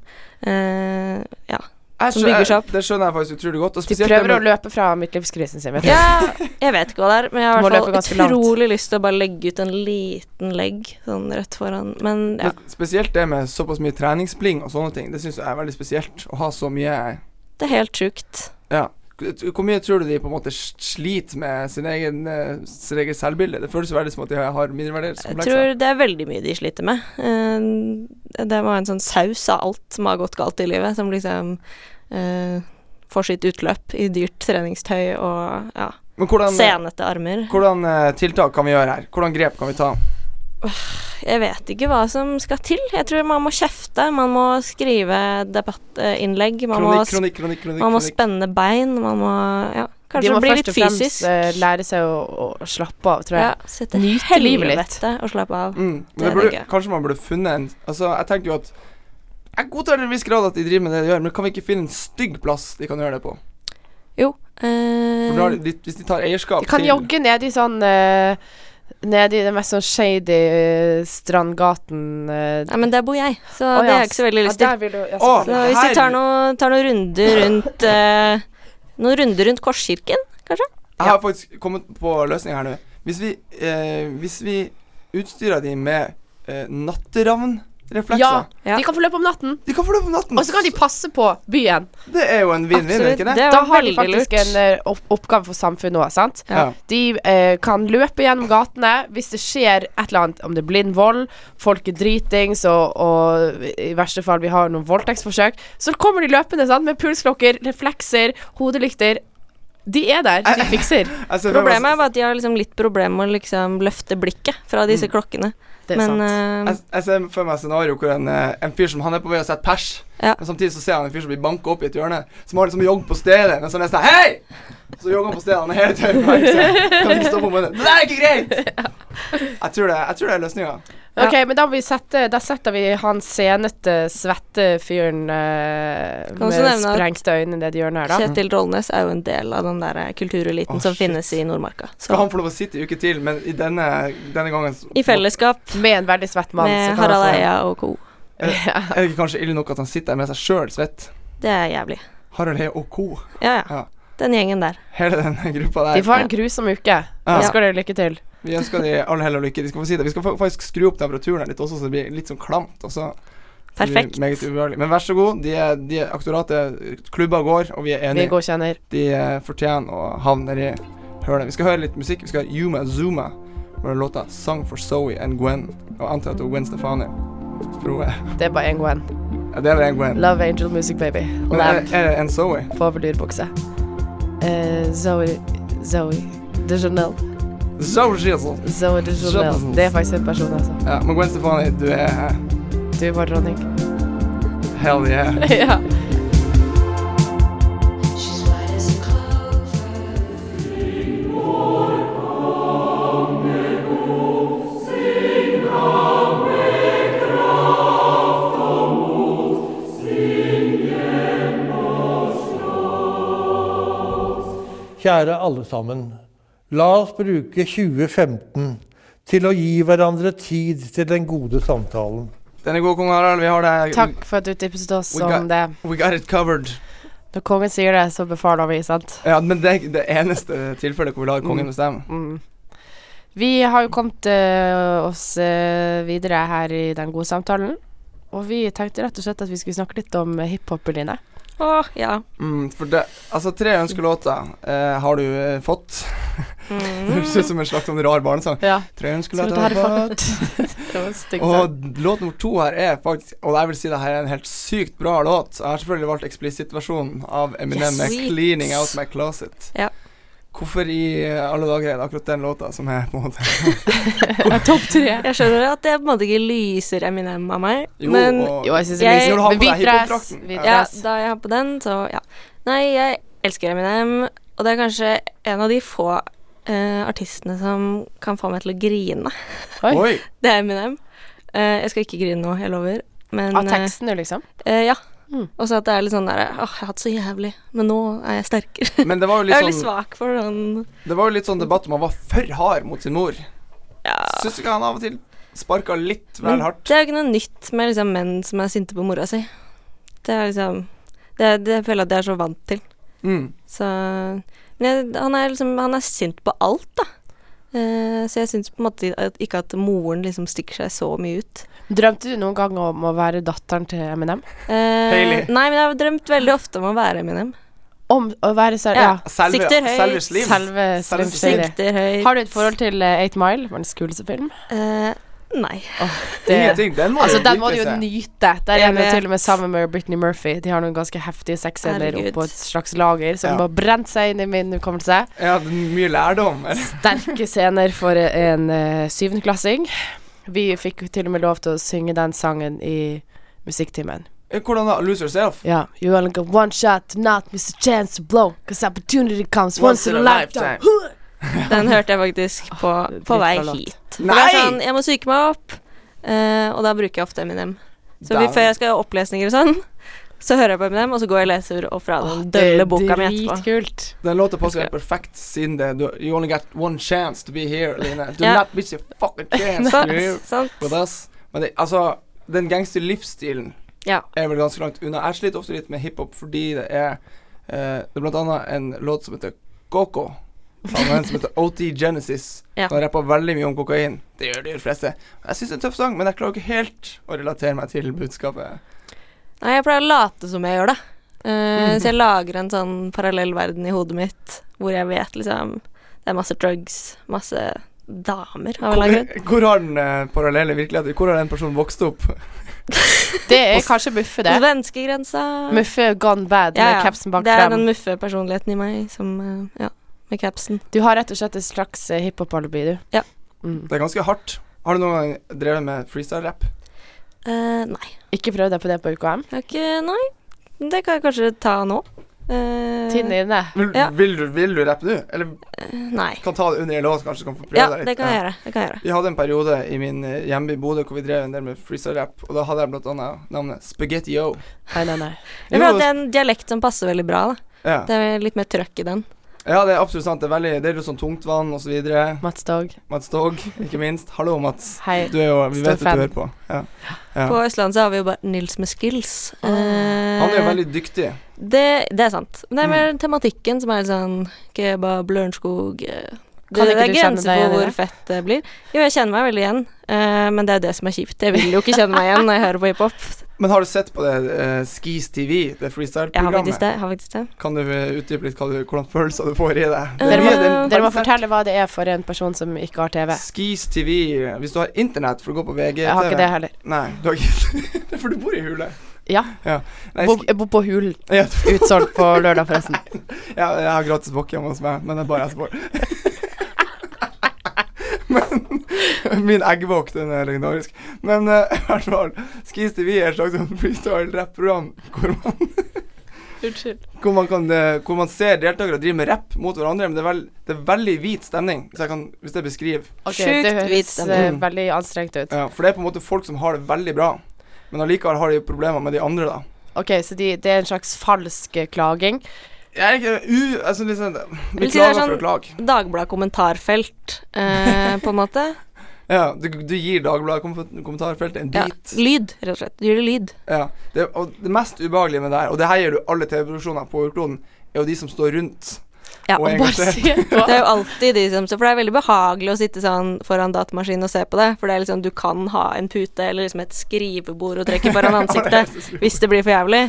S4: Eh, ja.
S3: Jeg
S4: Som bygger seg opp.
S3: jeg- Det skjønner jeg faktisk utrolig godt. Og
S2: De
S3: spesielt
S2: prøver å
S3: det med-
S2: løpe fra midtlivskrisen sin. Vet du.
S4: ja. Jeg vet ikke hva det er, men jeg
S2: Du
S4: har i
S2: må løpe
S4: hvert
S2: ganske
S4: fall
S2: langt.
S4: utrolig lyst til å bare legge ut en liten legg sånn rett foran. Men ja.
S3: men Spesielt det med såpass mye treningsbling og sånne ting. Det syns jeg er veldig spesielt. Å ha så mye
S4: Det er helt sjukt.
S3: Ja. Hvor mye tror du de på en måte sliter med sin egen, eh, sin egen selvbilde? Det føles veldig som at de har
S4: Jeg
S3: mindreverdighetskomplekser.
S4: tror det er veldig mye de sliter med. Eh, det var en sånn saus av alt som har gått galt i livet, som liksom eh, får sitt utløp i dyrt treningstøy og ja,
S3: Men hvordan, eh,
S4: senete armer.
S3: hvordan eh, tiltak kan vi gjøre her? Hvordan grep kan vi ta?
S4: Jeg vet ikke hva som skal til. Jeg tror man må kjefte, man må skrive debattinnlegg, man, må,
S3: Kronikk,
S4: sp-
S3: kronikk, kronikk. kronikk,
S4: man må
S3: kronikk.
S4: spenne bein, man må ja,
S2: De
S4: Kanskje
S2: må
S4: bli
S2: først
S4: litt
S2: og fremst
S4: fysisk.
S2: eh, lære seg å, å slappe av, tror jeg.
S4: ja, sitte
S2: Nyte
S4: helvete
S2: livet litt.
S4: og slappe av.
S3: Mm, men
S4: Det
S3: det
S4: er
S3: burde,
S4: det ikke.
S3: kanskje man burde funnet en Altså, jeg tenker jo at Jeg godtar til en viss grad at de driver med det de gjør, men kan vi ikke finne en stygg plass de kan gjøre det på?
S4: Jo.
S3: For da, har
S4: Eh,
S3: de, hvis de tar eierskap
S2: De kan
S3: til
S2: jogge ned i sånn eh, Ned i den mest sånn shady eh, strandgaten eh,
S4: nei, men der bor jeg, så
S2: Å,
S4: det
S2: ja,
S4: har jeg ikke så veldig lyst
S2: Ja,
S4: til.
S2: der vil du, ja,
S3: Å,
S4: Så
S2: selvfølgelig.
S4: hvis vi
S3: her-
S4: tar, noe, tar noen runder rundt eh, Noen runder rundt Korskirken, kanskje?
S3: Jeg har faktisk kommet på løsning her nå. Hvis vi, eh, hvis vi utstyrer de med eh, natteravnreflekser
S2: Ja,
S4: Ja.
S2: De kan få løpe om natten,
S3: De kan få det på natten!
S2: og så kan de passe på byen.
S3: Det er jo en vinn-vinn, er ikke
S4: Absolutt.
S3: det?
S4: Det
S2: Da
S4: var
S2: har de
S4: veldig
S2: faktisk en
S4: lurt.
S2: eh, opp oppgave for samfunnet òg, sant?
S3: Ja.
S2: De eh, kan løpe gjennom gatene hvis det skjer et eller annet, om det er blind vold, folk er dritings, og, og i verste fall vi har noen voldtektsforsøk, så kommer de løpende sant? med pulsklokker, reflekser, hodelykter. De er der,
S4: Eh,
S2: de fikser.
S3: Jeg ser for meg-
S4: Problemet er bare at de har liksom litt problemer med å liksom løfte blikket fra disse
S3: Mm.
S4: klokkene.
S2: Det er
S4: Men
S2: sant.
S4: eh,
S3: Jeg, jeg ser for meg et scenario hvor en, eh, en fyr som han er på vei å sette pers,
S4: Ja.
S3: men samtidig så ser han en fyr som blir banka opp i et hjørne, som har liksom jogg på stedet, men så er han sånn Hei! Så jogger han på stedet, han er hele tøyen på vei, så Kan ikke stå på med det. Det der er ikke greit! Jeg tror det, jeg tror det er løsninga.
S2: Ok, men da, må vi sette, da setter vi han senete, svette fyren eh,
S4: Kan også
S2: med
S4: nevne at-
S2: sprengte øyne i det hjørnet her, da.
S4: Kjetil Rollnes er jo en del av den der kultureliten
S3: Å,
S4: som
S3: shit.
S4: finnes i Nordmarka. Så
S3: Skal han få lov å sitte i uke til, men i denne, denne gangen så-
S4: i fellesskap
S2: Med en veldig svett mann. så
S4: med
S2: kan
S4: Harald
S2: han få-
S4: Eia og co.
S2: Ja.
S3: Er det ikke kanskje ille nok at han sitter der med seg sjøl svett?
S4: Det er jævlig.
S3: Harald Heie og co.
S4: Ja,
S3: Ja.
S4: ja. Den gjengen der.
S3: Hele den gruppa der.
S2: De får en grusom uke.
S3: Ja.
S2: Da skal dere lykke til.
S3: Vi ønsker de all hell og lykke. De skal få si det. Vi skal fa- faktisk skru opp temperaturen her litt også, så det blir litt sånn klamt. Og så så det blir
S4: Perfekt.
S3: Meget ubehagelig. Men vær så god, de, er- de er aktoratet klubba går, og vi er
S2: Vi
S3: enige.
S2: godkjenner.
S3: De eh, fortjener å havne nedi hølet. Vi skal høre litt musikk. Vi skal høre Yuma Zuma med låta 'Song for Zoe and Gwen'. Og jeg antar at det er Gwen Stefani. For hun er
S2: Det er bare én Gwen.
S3: Ja, det er vel en Gwen.
S2: Love Angel Music Baby.
S3: Men er,
S2: Lamp
S3: er det en Zoe?
S2: på overdyrbukse. Eh, Zoe Zoe de Janel.
S3: Zoe Jesus.
S2: Zoe de Janel. Det er faktisk en person, altså.
S3: Ja, men Gwen Stefani, du er
S2: Du er bare dronning.
S3: Hell yeah.
S2: ja.
S5: Kjære alle sammen. La oss bruke 2015 til å gi hverandre tid til den gode samtalen.
S3: Den er god, kong Harald. Vi har det.
S2: Takk for at du tipset oss
S3: We
S2: om
S3: got-
S2: det.
S3: We got it covered.
S2: Når kongen sier det, så befaler vi, sant?
S3: Ja, men det er ikke det eneste tilfellet hvor vi lar kongen
S2: Mm.
S3: bestemme.
S2: Mm. Vi har jo kommet eh, oss eh, videre her i den gode samtalen. Og vi tenkte rett og slett at vi skulle snakke litt om eh, hiphop, Line.
S4: Åh, ja.
S3: Mm, for det, altså, tre ønskelåter eh, har du eh, fått. Det høres
S4: Mm.
S3: ut som en slags sånn rar barnesang.
S2: Ja.
S3: Tre
S2: Så
S3: ønskelåter
S2: dette her er
S3: har Mm. du fått.
S2: faktisk Det var stygt sagt.
S3: Og låt nummer to her er faktisk Og jeg vil si det her er en helt sykt bra låt. Jeg har selvfølgelig valgt explicit-versjonen av Eminem
S4: Yes.
S3: med
S4: Sweet.
S3: 'Cleaning Out My Closet'.
S4: Ja.
S3: Hvorfor i eh, alle dager er det akkurat den låta som er på en måte
S2: Topp tre.
S4: Jeg skjønner at det på en måte ikke lyser Eminem av meg, men
S3: og-
S2: Jo, jeg syns det
S4: Jeg-
S2: er
S3: Når du har på
S2: Men
S3: deg
S2: hvit dress.
S3: hiphop-drakten.
S2: Hvit
S4: ja,
S2: dress.
S4: da jeg har på den, så ja. Nei, jeg elsker Eminem, og det er kanskje en av de få eh, artistene som kan få meg til å grine.
S2: Oi.
S3: Oi.
S4: Det er Eminem. Eh, jeg skal ikke grine nå, jeg lover. Men
S2: Av tekstene, liksom.
S4: eh, eh, ja.
S2: Mm.
S4: Og så at det er litt sånn der Åh, jeg har hatt så jævlig, men nå er jeg sterkere.
S3: Men det var jo
S4: Jeg er
S3: litt
S4: veldig
S3: sånn
S4: svak for den
S3: Det var jo litt sånn debatt om han var for hard mot sin mor.
S4: ja.
S3: Syns du ikke han av og til sparka litt
S4: Men
S3: vel hardt?
S4: det er jo ikke noe nytt med liksom menn som er sinte på mora si. Det er liksom Det, det føler jeg at jeg er så vant til.
S3: Mm.
S4: Så Men jeg, han er liksom Han er sint på alt, da. Eh, så jeg syns på en måte at, ikke at moren liksom stikker seg så mye ut.
S2: Drømte du noen gang om å være datteren til Eminem?
S4: Eh,
S3: Hailey.
S4: Nei, men jeg har drømt veldig ofte om å være Eminem.
S2: Om å være så Ja.
S4: Ja. Sikter høyt.
S3: selve slim.
S2: Selve
S3: Selve
S2: Slim
S3: Shady.
S2: Shady.
S4: Sikter høyt.
S2: Har du et forhold til eh, Eight Mile? Verdens kuleste film.
S4: Eh, nei.
S2: Det,
S3: Ingenting. Den må
S2: altså,
S3: du
S2: den må du
S3: virkelig
S2: jo
S3: se.
S2: nyte. Der
S4: Jeg
S2: er den jo
S4: vet.
S2: til og med sammen med Britney Murphy. De har noen ganske heftige sexscener
S4: Herregud.
S2: oppe på et slags lager som
S3: Ja.
S2: bare brente seg inn i min hukommelse.
S3: Ja, det er mye lærdom. eller?
S2: Sterke scener for en eh, syvendeklassing. Vi fikk jo til og med lov til å synge den sangen i musikktimen.
S3: Hvordan da? Lose yourself?
S2: Ja. You only got one shot to not miss a chance to blow, cause opportunity comes once, in a lifetime.
S4: Den hørte jeg faktisk på, på vei
S2: dritbra låt.
S4: hit. For Det
S3: Nei!
S4: er sånn, jeg må psyke meg opp, eh, og da bruker jeg ofte Eminem. Så vi,
S3: Damn.
S4: før jeg skal ha opplesninger og sånn, så hører jeg på Eminem, og så går jeg og leser opp fra den dølle boka mi etterpå.
S2: Dritkult.
S3: Den låta passer helt perfekt siden det du, You only got one chance to be here, Line. Do
S4: Ja.
S3: not miss your fucking chance to
S4: Sant,
S3: be here
S4: sant.
S3: with us. Men det, altså, den gangsterlivsstilen
S4: Ja.
S3: er vel ganske langt unna. Jeg sliter ofte litt med hiphop fordi det er eh, Det er blant annet en låt som heter Coco. Av en som heter OT Genesis.
S4: Ja.
S3: Han rapper veldig mye om kokain. Det gjør de fleste. Jeg syns det er en tøff sang, men jeg klarer ikke helt å relatere meg til budskapet.
S4: Nei, jeg pleier å late som jeg gjør det.
S2: Mm.
S4: Eh, Så jeg lager en sånn parallell verden i hodet mitt, hvor jeg vet liksom Det er masse drugs, masse damer av en
S3: Hvor,
S4: eller annen grunn.
S3: hvor har den eh, parallelle virkeligheten Hvor har den personen vokst opp?
S2: Det er kanskje Muffe, det.
S4: Svenskegrensa.
S2: Muffe gone bad
S4: Ja,
S2: med
S4: ja.
S2: capsen bak
S4: Det er den
S2: frem.
S4: muffe personligheten i meg som eh, Ja, med capsen.
S2: Du har rett og slett et slags eh, hiphop-alibi, du.
S4: Ja.
S2: Mm.
S3: Det er ganske hardt. Har du noen gang drevet med freestyle-rapp?
S4: Eh, nei.
S2: Ikke prøv deg på det på UKM.
S4: Jeg har ikke Eh, Nei. Det kan jeg kanskje ta nå. Eh,
S2: Tiden er inne.
S3: Vil,
S4: Ja.
S3: vil, du- vil du rappe nå? Eller
S4: Nei.
S3: kan ta det under en låt, kanskje du kan få prøve
S4: Ja,
S3: deg litt?
S4: det kan jeg gjøre. Det kan jeg gjøre.
S3: Vi hadde en periode i min eh, hjemby Bodø hvor vi drev en del med freestyle-rapp, og da hadde jeg blant annet navnet Spaghetti-O.
S2: Nei, nei, nei.
S4: Jeg
S3: Jo,
S4: føler at det er en dialekt som passer veldig bra. da
S3: Ja.
S4: Det er litt mer trøkk i den.
S3: ja, det er absolutt sant. Det er veldig Det er jo sånn tungtvann og så videre.
S2: Mats Dog.
S3: Mats Dog, ikke minst. Hallo, Mats.
S2: Hei.
S4: Eh,
S3: Du er jo
S2: Stor
S3: Vi vet at
S2: fan.
S3: du hører på. Ja. Ja.
S4: På Østlandet så har vi jo bare Nils med skills.
S2: Ah.
S4: Eh,
S3: Han er jo veldig dyktig.
S4: det, det er sant. Men
S2: Mm.
S4: det er mer tematikken som er litt sånn kebab, Lørenskog eh,
S2: Kan
S4: det,
S2: ikke
S4: det
S2: du
S4: er
S2: kjenne
S4: grenser
S2: deg igjen
S4: for
S2: i
S4: hvor
S2: det?
S4: fett det blir. Jo, jeg kjenner meg veldig igjen, eh, men det er jo det som er kjipt. Jeg vil jo ikke kjenne meg igjen når jeg hører på hiphop.
S3: Men har du sett på det eh, Skis TV, det
S4: Jeg har faktisk
S3: freestyle-programmet?
S4: det. Jeg har faktisk det.
S3: Kan du eh, utdype litt hva du, hvordan følelser du får i deg? Det er
S4: Dere må-
S3: mye- det er
S2: Dere må
S3: veldig sterkt.
S2: fortelle hva det er for en person som ikke har TV.
S3: Skis TV Hvis du har internett for å gå på VG
S2: Jeg har ikke det heller.
S3: Nei, du har ikke det er For du bor i hule
S2: Ja.
S3: Nei,
S2: Bo-
S3: sk-
S2: Jeg bor på Hulen.
S3: ja, du-
S2: Utsolgt på lørdag, forresten.
S3: ja, jeg har gratis bokke hjemme hos meg Men det er bare jeg som bor Men Min eggbok, den er legendarisk Men eh, i hvert fall Skis TV er et slags sånn freestyle rap-program Hvor man
S2: Unnskyld.
S3: hvor man, kan, eh, hvor man ser deltakere drive med rapp mot hverandre Men det er, vel, det er veldig hvit stemning Hvis jeg, kan, hvis jeg beskriver
S4: Sjukt
S2: det
S4: hvit
S2: høres
S4: stemme.
S2: eh,
S3: Mm.
S2: veldig anstrengt ut.
S3: ja, For det er på en måte folk som har det veldig bra Men allikevel har de problemer med de andre da
S2: Ok, så de, det er en slags falsk eh, klaging.
S3: Jeg er ikke u... Altså, liksom, vi
S4: vil si det er
S3: klager for
S4: sånn-
S3: å klage.
S4: Dagbladet kommentarfelt, eh, på en måte.
S3: Ja, du, du gir Dagbladet kom- kommentarfeltet en
S4: Ja,
S3: bit.
S4: lyd, rett og slett. Du Gjør det lyd.
S3: Ja, det, og det mest ubehagelige med det her, og det her gjør du alle TV-produksjoner på jordkloden, er jo de som står rundt.
S4: Ja,
S3: Og
S4: og bare
S3: engasjert.
S4: si det. er jo alltid de som For det er veldig behagelig å sitte sånn foran datamaskinen og se på det. For det er liksom, du kan ha en pute eller liksom et skrivebord og trekke foran ansiktet hvis det blir for jævlig.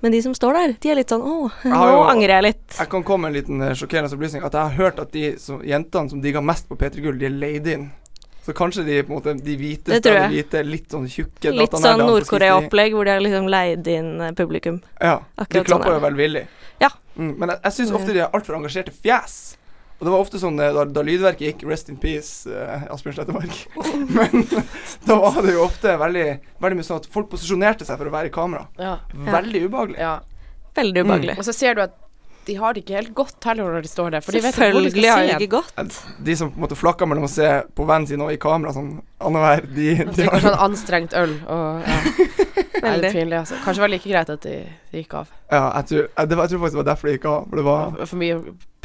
S4: Men de som står der, de er litt sånn Å, nå
S3: har jo-
S4: angrer jeg litt.
S3: Jeg kan komme med en liten eh, sjokkerende opplysning. At jeg har hørt at de som, jentene som digger mest på P3 Gull, de er leid inn. Så kanskje de på en måte de hviteste
S4: Det tror
S3: av de
S4: jeg.
S3: hvite, litt sånn tjukke
S4: Litt
S3: datanerder på
S4: sånn
S3: skriftlig-
S4: Nord-Korea-opplegg hvor de har liksom leid inn eh, publikum.
S3: Ja. De
S4: Akkurat sånn
S3: klapper
S4: er
S3: jo velvillig.
S4: Ja.
S3: Mm, men jeg, jeg syns ofte de har altfor engasjerte fjes. Og det var ofte sånn eh, da, da lydverket gikk Rest in peace, eh, Asbjørn Slettemark. Men da var det jo ofte veldig, veldig mye sånn at folk posisjonerte seg for å være i kamera.
S2: Ja.
S3: Veldig ubehagelig.
S2: ja.
S4: Veldig ubehagelig.
S2: Og så ser du at de har det ikke helt godt heller når de står der. For de vet ikke hvor de
S4: Selvfølgelig
S2: skal
S4: har
S2: se
S4: det
S2: hen.
S4: ikke gått.
S3: De som på en måte flakker mellom å se på vennen sin og i kamera sånn annenhver, de,
S2: De
S3: de
S2: drikker
S3: har
S2: sånn anstrengt øl og ja. Nei, det
S4: Veldig.
S2: er pinlig, altså. Kanskje det var like greit at de, de gikk av.
S3: Ja, jeg tror, jeg, det var, jeg tror faktisk det var derfor det gikk av. For det var,
S2: For mye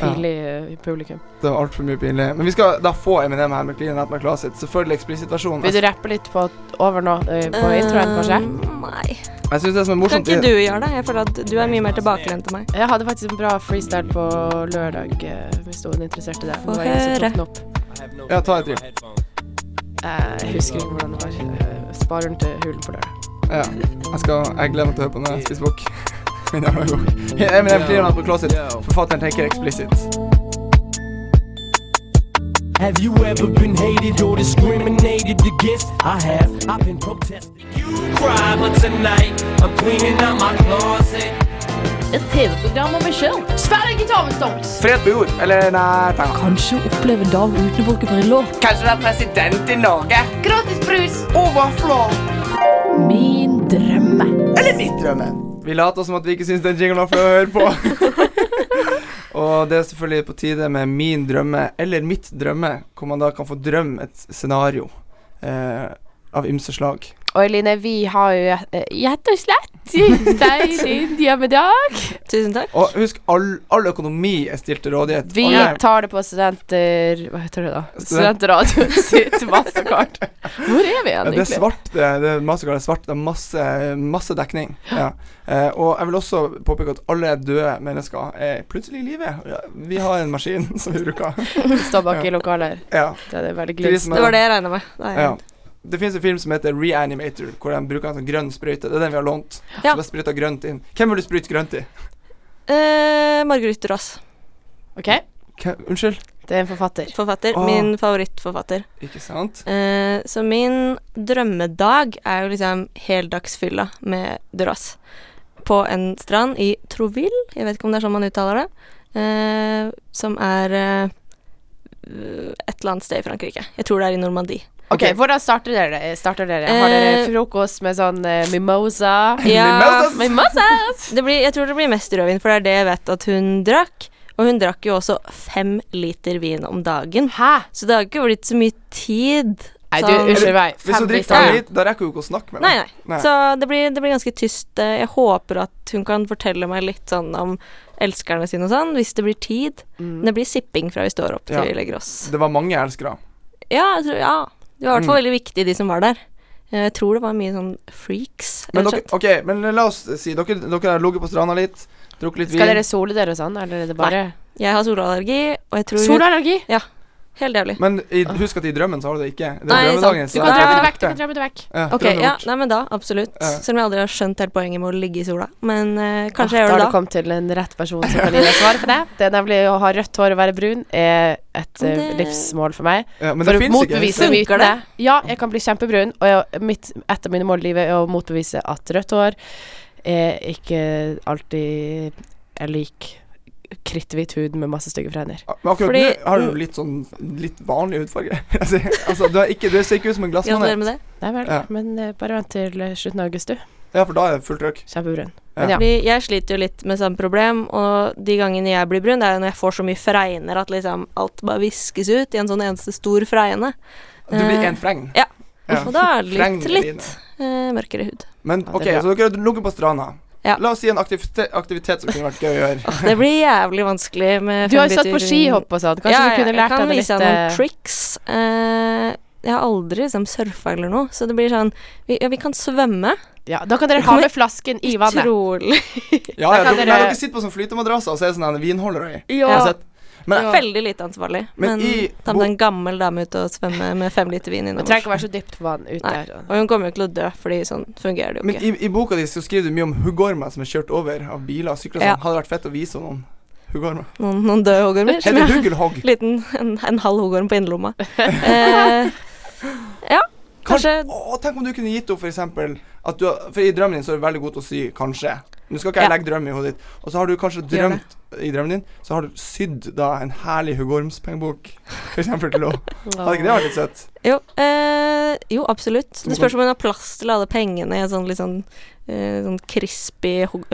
S2: pinlig eh, publikum.
S3: det var altfor mye pinlig. Men vi skal da få Eminem her med Clean Out My Closet. Selvfølgelig eksplisitt-versjon.
S2: Vil du
S3: Jeg,
S2: rappe litt på over nå, eh,
S4: Um,
S2: på introen, kanskje?
S4: Eh, Nei.
S3: jeg syns det som er
S4: Kan
S3: morsomt
S4: ikke du gjøre det? Jeg føler at du er mye mer tilbakelent enn meg.
S2: Jeg hadde faktisk en bra freestyle på lørdag, eh, hvis noen er interessert i det.
S4: Få
S2: Det var jeg som
S4: høre.
S2: tok den opp.
S3: Ja, ta en til.
S2: Eh, Jeg husker ikke hvordan det var. Eh, Spar den til hulen på lørdag.
S3: Ja, jeg, skal, jeg gleder meg til å høre på når jeg spiser bok. Men jeg har jo- Eminem Clean Out My Closet. Forfatteren tenker eksplisitt.
S6: Have you ever been hated or discriminated against? I have. I've been protesting. You cry, but tonight I'm cleaning out my closet.
S7: Et TV-program om meg sjøl. Sverre Gitarmestons.
S3: Fred på jord. Eller nei tegna.
S7: Kanskje oppleve en dag uten å bruke briller.
S3: Kanskje være president i Norge.
S7: Gratis brus.
S3: Overflod.
S7: Min drømme.
S3: Vi later som at vi ikke syns den jinglen var flau å høre på. Og det er selvfølgelig på tide med min drømme, eller mitt drømme, hvor man da kan få drømme et scenario eh, av ymse slag.
S2: Og Eline, vi har jo eh, rett og slett gitt deg din diamedal.
S4: Tusen takk.
S3: Og husk, all, all økonomi er stilt til rådighet.
S2: Vi
S3: Alle-
S2: tar det på studenter... Hva heter det da?
S3: Student-
S2: Studentradioen sitt mastercard. Hvor er vi
S3: Ja,
S2: igjen,
S3: det er
S2: egentlig?
S3: svart, det, det er Mastercard er svart. Det er masse, masse dekning. Ja. Eh, og jeg vil også påpeke at alle døde mennesker er plutselig i live. Ja, vi har en maskin som vi bruker.
S2: Vi står bak i lokalet her.
S3: Ja.
S2: Det er veldig
S3: Til de
S2: glimt.
S3: som er-
S4: Det var det jeg regna med. Da er jeg-
S3: Ja. Det finnes en film som heter Reanimator, hvor de bruker en sånn grønn sprøyte. Det er den vi har lånt.
S4: Ja.
S3: Så bare sprøyter grønt inn. Hvem vil du sprøyte grønt i?
S4: Eh, Marguerite Ross,
S2: OK,
S3: Hvem? Unnskyld?
S2: det er en forfatter.
S4: forfatter.
S3: Åh.
S4: Min favorittforfatter.
S3: Ikke sant?
S4: Eh, så min drømmedag er jo liksom heldagsfylla med Duras. På en strand i Troville, jeg vet ikke om det er sånn man uttaler det, eh, som er eh, et eller annet sted i Frankrike. Jeg tror det er i Normandie.
S2: OK, hvordan starter dere? Eh, Starter dere? Har dere
S4: Eh,
S2: frokost med sånn eh, mimosa?
S4: Ja,
S3: Mimosas!
S2: Mimosas!
S4: det blir, jeg tror det blir mest rødvin, for det er det jeg vet at hun drakk. Og hun drakk jo også fem liter vin om dagen.
S2: Hæ?
S4: Så det har ikke blitt så mye tid.
S2: Nei, du,
S4: sånn-
S2: unnskyld meg.
S3: Hvis
S2: Fem
S3: hun drikker
S2: liter.
S3: for litt, da rekker hun ikke å snakke med
S4: Nei,
S3: deg.
S4: nei. Så det blir, det blir ganske tyst. Eh, Jeg håper at hun kan fortelle meg litt sånn om elskerne sine og sånn, hvis det blir tid. Men Det blir sipping fra vi står opp til
S3: Mm. Ja.
S4: vi legger oss.
S3: Det var mange elskere.
S4: Ja, jeg tror, ja. Det var i hvert
S3: Mm.
S4: fall veldig viktig, de som var der. Eh, Jeg tror det var mye sånn freaks.
S3: Men,
S4: rett og
S3: dere,
S4: slett.
S3: ok, men la oss si dere, dere har ligget på stranda litt, drukket litt vin.
S2: Skal dere sole dere og sånn, eller er det bare
S4: Jeg har solallergi, og jeg tror
S2: Solallergi?
S4: Helt jævlig.
S3: Men i, husk at i drømmen så har du det ikke. Det er
S4: Nei,
S3: drømmedagen.
S4: sant.
S2: Du
S3: så
S2: kan
S3: det er
S2: drømme det
S3: borte.
S2: vekk. Du kan drømme det vekk.
S3: Ja,
S4: Ok,
S3: drømmen er
S4: ja,
S3: borte.
S4: nei, men da, absolutt.
S3: Ja.
S4: Selv om jeg aldri har skjønt helt poenget med å ligge i sola. Men eh, kanskje
S2: Ah,
S4: jeg
S2: da
S4: gjør
S2: har
S4: det
S2: du
S4: da.
S2: kommet til en rett person som kan gi deg svar på det. Det er nemlig å ha rødt hår og være brun er et eh,
S4: Det-
S2: livsmål for meg.
S3: Ja, men det
S2: For å
S3: finnes ikke.
S2: motbevise
S4: Funker
S2: mytene. Ja, jeg kan bli kjempebrun, og jeg, mitt, et av mine mål i livet er å motbevise at rødt hår er ikke alltid er lik kritthvit hud med masse stygge fregner.
S3: Ja, Men akkurat
S4: Fordi-
S3: nå har du litt sånn litt vanlig hudfarge. altså, altså, du, er ikke, du ser ikke ut som en
S4: Gratulerer
S3: glassmanet.
S4: med det.
S2: Nei vel,
S3: Ja.
S2: men eh, bare vent til eh, slutten av august, du.
S3: Ja, for da er det fullt trøkk.
S2: Kjempebrun. Ja.
S4: Fordi jeg sliter jo litt med samme problem, og de gangene jeg blir brun, det er jo når jeg får så mye fregner at liksom alt bare viskes ut i en sånn eneste stor fregne.
S3: Du blir
S4: Eh,
S3: en fregn.
S4: ja.
S3: Ja.
S4: Og da er det litt,
S3: Fregner dine.
S4: litt eh, mørkere hud.
S3: Men
S2: Ja, det
S3: ok,
S2: er bra.
S3: så dere har ligget på stranda.
S4: Ja.
S3: La oss si en aktivitet, aktivitet som kunne vært gøy å gjøre.
S4: Det blir jævlig vanskelig med
S2: Du har jo stått på
S4: fembiter-
S2: skihopp og sånn. Kanskje
S4: Ja, ja,
S2: du kunne lært deg det
S4: Jeg
S2: litt
S4: kan vise deg
S2: eh,
S4: noen tricks. Eh, jeg har aldri liksom surfa eller noe, så det blir sånn Vi, ja, vi kan svømme.
S2: Ja, da kan dere
S4: Det
S2: ha
S4: kommer
S2: med flasken i vannet.
S4: Utrolig.
S3: Ja,
S2: Da
S3: ja,
S2: kan
S3: dere,
S2: dere-
S3: nei, dere sitter på sånn flytemadrasser, og så er det sånn en vinholder i.
S4: Ja.
S3: Har jeg sett. Men
S4: Veldig lite ansvarlig.
S3: Men
S4: Men,
S3: i
S4: ta
S3: bo-
S4: med deg en gammel dame ut og svømme med fem liter vin
S2: Det
S4: innom.
S2: trenger ikke å være så dypt vann ute
S4: Nei.
S2: der.
S4: Og hun kommer jo til å dø, fordi sånn fungerer det jo
S3: Men
S4: ikke.
S3: i, i boka di så skriver du mye om huggormer som er kjørt over av biler og sykler. og
S4: Ja.
S3: sånn. Hadde det vært fett å vise noen huggormer.
S4: Noen, noen døde hoggormer. som
S3: Heter
S4: jeg-
S3: hugg eller hogg?
S4: Liten, en, en halv hoggorm på innerlomma. Eh, ja, kanskje
S3: Å, tenk om du kunne gitt henne for eksempel at du, har- For i drømmen din så er du veldig god til å sy 'kanskje'. Nå skal ikke jeg
S4: Ja.
S3: legge drømmen i hodet ditt. Og så har du kanskje
S4: Gjør det.
S3: drømt i drømmen din, så har du sydd da en herlig huggormspengebok, for eksempel til henne. Hadde ikke det vært litt søtt?
S4: Jo, eh, jo absolutt.
S3: Hvorfor?
S4: Det spørs om hun har plass til alle pengene i en sånn litt sånn, eh, sånn crispy hog-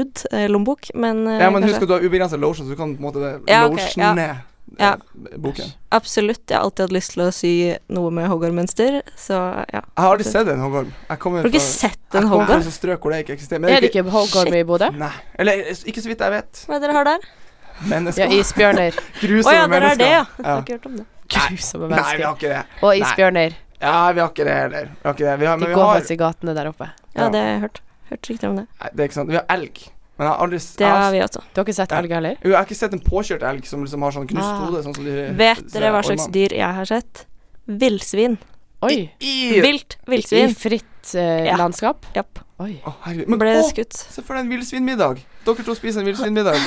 S4: hoggormhud-lommebok, men, eh,
S3: Ja, men
S4: kanskje-
S3: husk at du har ubegrenset lotion, så du kan på en måte
S4: Ja, ok, ja.
S3: lotione
S4: Ja.
S3: eh, boken.
S4: Absolutt. Jeg har alltid hatt lyst til å sy noe med hoggormmønster, så ja.
S3: Jeg har aldri sett en hoggorm. Jeg kommer
S4: Har du ikke
S3: fra-
S4: sett
S3: jeg
S4: en
S3: kommer fra
S4: hoggorm?
S3: sånne strøk hvor det ikke eksisterer. Men
S2: Er det ikke hoggorm i Bodø?
S3: Nei. Eller eh, ikke så vidt jeg vet.
S4: Hva er det dere har der?
S2: Ja,
S3: Mennesker.
S2: isbjørner.
S4: Å
S3: Grusomme
S4: ja, dere har
S3: mennesker.
S4: det, ja. Jeg
S3: Ja.
S4: har ikke hørt om det.
S2: Grusomme
S3: Nei, vi har
S2: mennesker.
S3: ikke det.
S2: Og isbjørner.
S3: Ja, vi har ikke det heller. Vi har ikke det. Vi har,
S2: De
S3: men vi
S2: går
S3: har
S2: faktisk i gatene der oppe.
S3: Ja.
S4: Ja, det har jeg hørt. Hørt riktig om det.
S3: Nei, Det er ikke sant. Vi har elg. Men jeg har aldri s-
S4: Det
S3: jeg
S4: har
S3: har,
S4: vi også.
S2: Du har ikke sett
S3: Ja.
S2: elg heller?
S3: jo, jeg har ikke sett en påkjørt elg som liksom har sånn knust
S2: Ah.
S3: hode. Sånn som de
S4: Vet dere hva slags
S3: ormene.
S4: dyr jeg har sett? Villsvin.
S2: Oi.
S3: I-
S4: Vilt
S2: I
S4: villsvin.
S2: fritt eh,
S4: Ja.
S2: landskap?
S4: Japp.
S2: Oi.
S3: Å, herregud. Men
S4: Ble
S3: å,
S4: skutt.
S3: se for deg en villsvinmiddag. Dere to spiser en villsvinmiddag.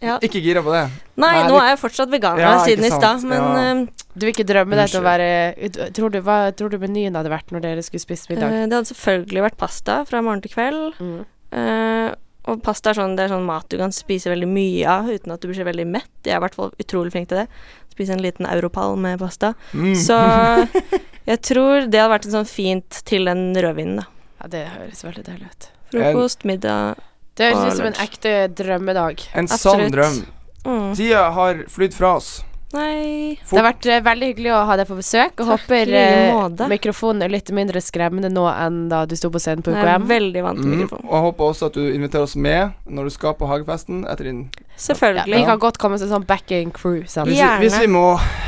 S4: Ja.
S3: Ikke gira på det.
S4: Nei,
S3: Nei,
S4: nå
S3: litt-
S4: er jeg fortsatt veganer
S3: Ja,
S4: siden
S3: ikke
S4: i
S3: sant.
S4: stad, men
S3: Ja.
S4: eh,
S2: Du vil ikke drømme deg til å
S3: Unnskyld.
S2: være du- Tror du, hva tror du menyen hadde vært når dere skulle spist middag?
S4: Eh, Det hadde selvfølgelig vært pasta fra morgen til kveld.
S2: Mm.
S4: Eh, og pasta er sånn, det er sånn mat du kan spise veldig mye av uten at du blir så veldig mett. Jeg er i hvert fall utrolig flink til det. Spise en liten europall med pasta.
S3: Mm.
S4: Så jeg tror det hadde vært en sånn fint til den rødvinen, da.
S2: Ja, det høres veldig deilig ut.
S4: Frokost, middag
S2: Det
S3: Ah,
S4: Og
S2: høres ut som en
S4: lunsj.
S2: ekte drømmedag.
S3: En sann
S4: Absolutt.
S3: drøm.
S4: mm.
S3: Tida har flydd fra oss.
S4: Nei
S2: Det har vært eh, veldig hyggelig å ha deg på besøk, og
S4: Takk, i
S2: håper
S4: like
S2: eh,
S4: måte.
S2: mikrofonen er litt mindre skremmende nå enn da du sto på scenen på
S4: Jeg er
S2: UKM.
S4: veldig vant til
S3: Mm,
S4: mikrofonen.
S3: og jeg håper også at du inviterer oss med når du skal på Hagefesten etter din
S2: Ja, vi
S4: Selvfølgelig.
S2: kan godt komme som sånn backing crew sammen.
S3: Hvis,
S4: Gjerne.
S3: vi, hvis vi må.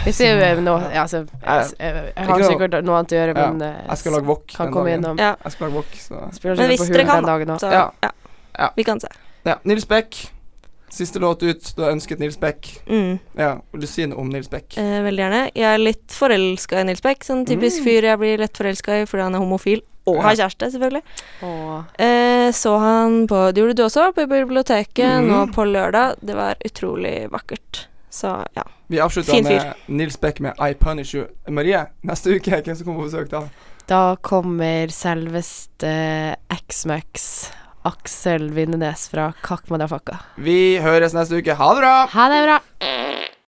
S2: Vi ser jo eh, nå ja, altså, jeg, jeg, jeg har
S3: Ikke noe-
S2: sikkert noe annet å gjøre,
S3: Ja,
S2: men eh,
S3: Jeg skal lage wok
S2: kan
S3: den
S2: komme
S3: dagen.
S2: innom.
S4: Ja.
S3: Jeg skal lage wok, så
S2: Spiller ikke
S4: Men hvis
S2: på
S4: dere
S2: Hulen
S4: kan,
S2: den dagen også.
S4: Så
S3: Ja.
S4: ja.
S3: Ja.
S4: Vi kan se.
S3: Ja, Nils Beck. Siste låt ut. Du har ønsket Nils Beck.
S4: Mm.
S3: Ja, vil du si noe om Nils Beck?
S4: Eh, veldig gjerne. Jeg er litt forelska i Nils Beck. Sånn typisk fyr jeg blir lett forelska i fordi han er homofil og har kjæreste, selvfølgelig.
S2: Åh.
S4: Eh, så han på Det gjorde du også, på biblioteket
S3: Mm.
S4: nå på lørdag. Det var utrolig vakkert. Så ja.
S3: Vi avslutter
S4: Fin
S3: med Nils Beck med I Punish You. Marie, neste uke, hvem som kommer på besøk da?
S2: Da kommer selveste X-Max Aksel Vindenes fra Kakk Madafakka.
S3: Vi høres neste uke. Ha det bra!
S2: Ha det bra!